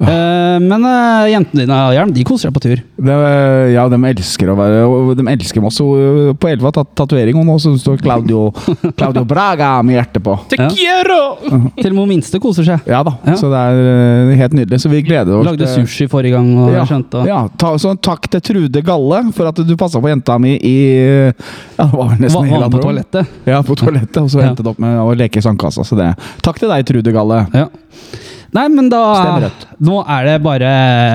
[SPEAKER 2] Eh, men eh, jentene dine har hjelm. De koser seg på tur.
[SPEAKER 1] Det, eh, ja, de elsker å være og De elsker Moss. Hun På Elva har tatovering, og nå så står Claudio, Claudio Braga med hjertet på.
[SPEAKER 4] Te quiero!
[SPEAKER 2] Til og med hun minste koser seg.
[SPEAKER 1] Ja da,
[SPEAKER 2] Ja.
[SPEAKER 1] så det er eh, helt nydelig. Så vi gleder oss.
[SPEAKER 2] Lagde
[SPEAKER 1] til-
[SPEAKER 2] sushi forrige gang. Og
[SPEAKER 1] eh, Ja,
[SPEAKER 2] skjønte,
[SPEAKER 1] ja ta, så takk til Trude Galle for at du passa på jenta mi i ja, det var nesten
[SPEAKER 2] Var,
[SPEAKER 1] hele
[SPEAKER 2] var
[SPEAKER 1] andre
[SPEAKER 2] på
[SPEAKER 1] rom.
[SPEAKER 2] toalettet.
[SPEAKER 1] Ja, på toalettet, og så
[SPEAKER 2] Ja.
[SPEAKER 1] endte det opp med å leke i sandkassa. Så det. Takk til deg, Trude Galle.
[SPEAKER 2] Ja. Nei, men da
[SPEAKER 1] Stemmer rett.
[SPEAKER 2] Nå er det bare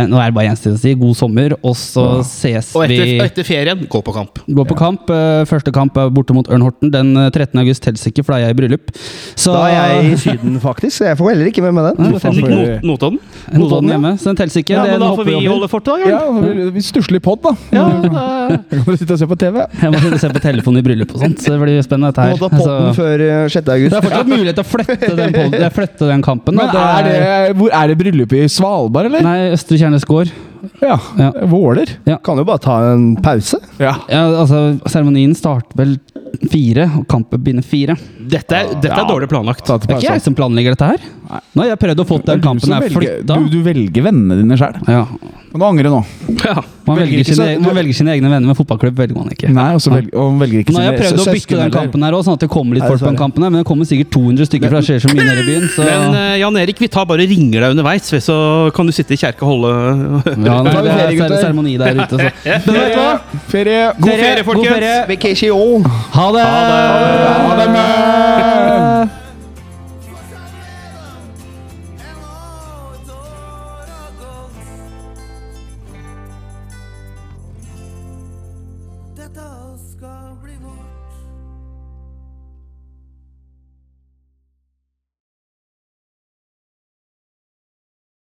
[SPEAKER 2] Nå er det bare gjenstående å si god sommer, og så ses
[SPEAKER 4] Og etter,
[SPEAKER 2] vi
[SPEAKER 4] og etter ferien, gå på kamp.
[SPEAKER 2] Gå på kamp. Eh, Første kamp er borte mot Ørnhorten. Den eh, 13. august teller ikke, for da er jeg i bryllup. Så
[SPEAKER 3] Da er jeg i Syden, faktisk, så jeg får heller ikke med meg den.
[SPEAKER 2] Nei, hvorfor
[SPEAKER 4] Not-
[SPEAKER 2] ikke?
[SPEAKER 4] Notodden?
[SPEAKER 2] Notodden hjemme, så den teller ikke.
[SPEAKER 4] Ja,
[SPEAKER 2] Det
[SPEAKER 4] men da
[SPEAKER 2] hopper
[SPEAKER 4] får vi
[SPEAKER 2] over.
[SPEAKER 4] holde fortet, da.
[SPEAKER 1] Ja,
[SPEAKER 4] Ja.
[SPEAKER 1] Stusslig pod, da.
[SPEAKER 4] Ja, da-
[SPEAKER 1] Da Kan du sitte og se på TV?
[SPEAKER 2] Jeg må sitte og se på telefonen i bryllup og sånt, så det blir spennende dette
[SPEAKER 3] Må ta
[SPEAKER 2] her. Altså-
[SPEAKER 3] potten
[SPEAKER 2] Så-
[SPEAKER 3] før eh,
[SPEAKER 2] det
[SPEAKER 3] 6.
[SPEAKER 2] er
[SPEAKER 3] august.
[SPEAKER 2] fortsatt mulighet til å flytte den, pod- eh, flytte den kampen. da.
[SPEAKER 1] Men er det, hvor er det bryllup i Svalbard, eller?
[SPEAKER 2] Nei, Østre Kjernes gård.
[SPEAKER 1] Ja.
[SPEAKER 2] Ja.
[SPEAKER 1] Våler?
[SPEAKER 3] Kan jo bare ta en pause.
[SPEAKER 1] Ja.
[SPEAKER 2] Ja, altså, seremonien starter vel fire, og kampen begynner fire.
[SPEAKER 4] Dette, er- dette er dårlig planlagt.
[SPEAKER 1] Ta til
[SPEAKER 2] Det er ikke jeg
[SPEAKER 1] pause.
[SPEAKER 2] som planlegger dette her. Nå har jeg prøvd å få til
[SPEAKER 1] Det er
[SPEAKER 2] den
[SPEAKER 1] du
[SPEAKER 2] kampen
[SPEAKER 1] som
[SPEAKER 2] er
[SPEAKER 1] velger-
[SPEAKER 2] flytta.
[SPEAKER 1] Du, du velger vennene dine sjøl.
[SPEAKER 2] Ja.
[SPEAKER 1] Må du angre nå.
[SPEAKER 4] Ja.
[SPEAKER 1] Velger
[SPEAKER 2] Man, velger
[SPEAKER 1] ikke
[SPEAKER 2] sine,
[SPEAKER 1] så-
[SPEAKER 2] man velger sine egne venner, men fotballklubb velger man ikke.
[SPEAKER 1] Nei, og så velger, og velger ikke
[SPEAKER 2] Nå har jeg
[SPEAKER 1] sine
[SPEAKER 2] prøvd å
[SPEAKER 1] søsken
[SPEAKER 2] bytte den
[SPEAKER 1] heller.
[SPEAKER 2] kampen her også, sånn at det kommer litt
[SPEAKER 3] Nei,
[SPEAKER 2] folk på den
[SPEAKER 3] sorry.
[SPEAKER 2] kampen. her, Men det kommer sikkert 200 stykker, for det skjer så mye nede i byen. Så
[SPEAKER 4] Men eh, Jan Erik, vi tar bare ringer deg underveis, så kan du sitte i kjerka og holde
[SPEAKER 2] ja, nei,
[SPEAKER 1] tar vi
[SPEAKER 2] det
[SPEAKER 1] ferie,
[SPEAKER 2] er så er det
[SPEAKER 1] gutter.
[SPEAKER 2] seremoni der ute. Så.
[SPEAKER 1] Men vet du hva? Ferie.
[SPEAKER 4] God ferie, folkens!
[SPEAKER 3] Vacation!
[SPEAKER 2] Ha det!
[SPEAKER 1] Ha det med!
[SPEAKER 5] Dette skal bli vårt.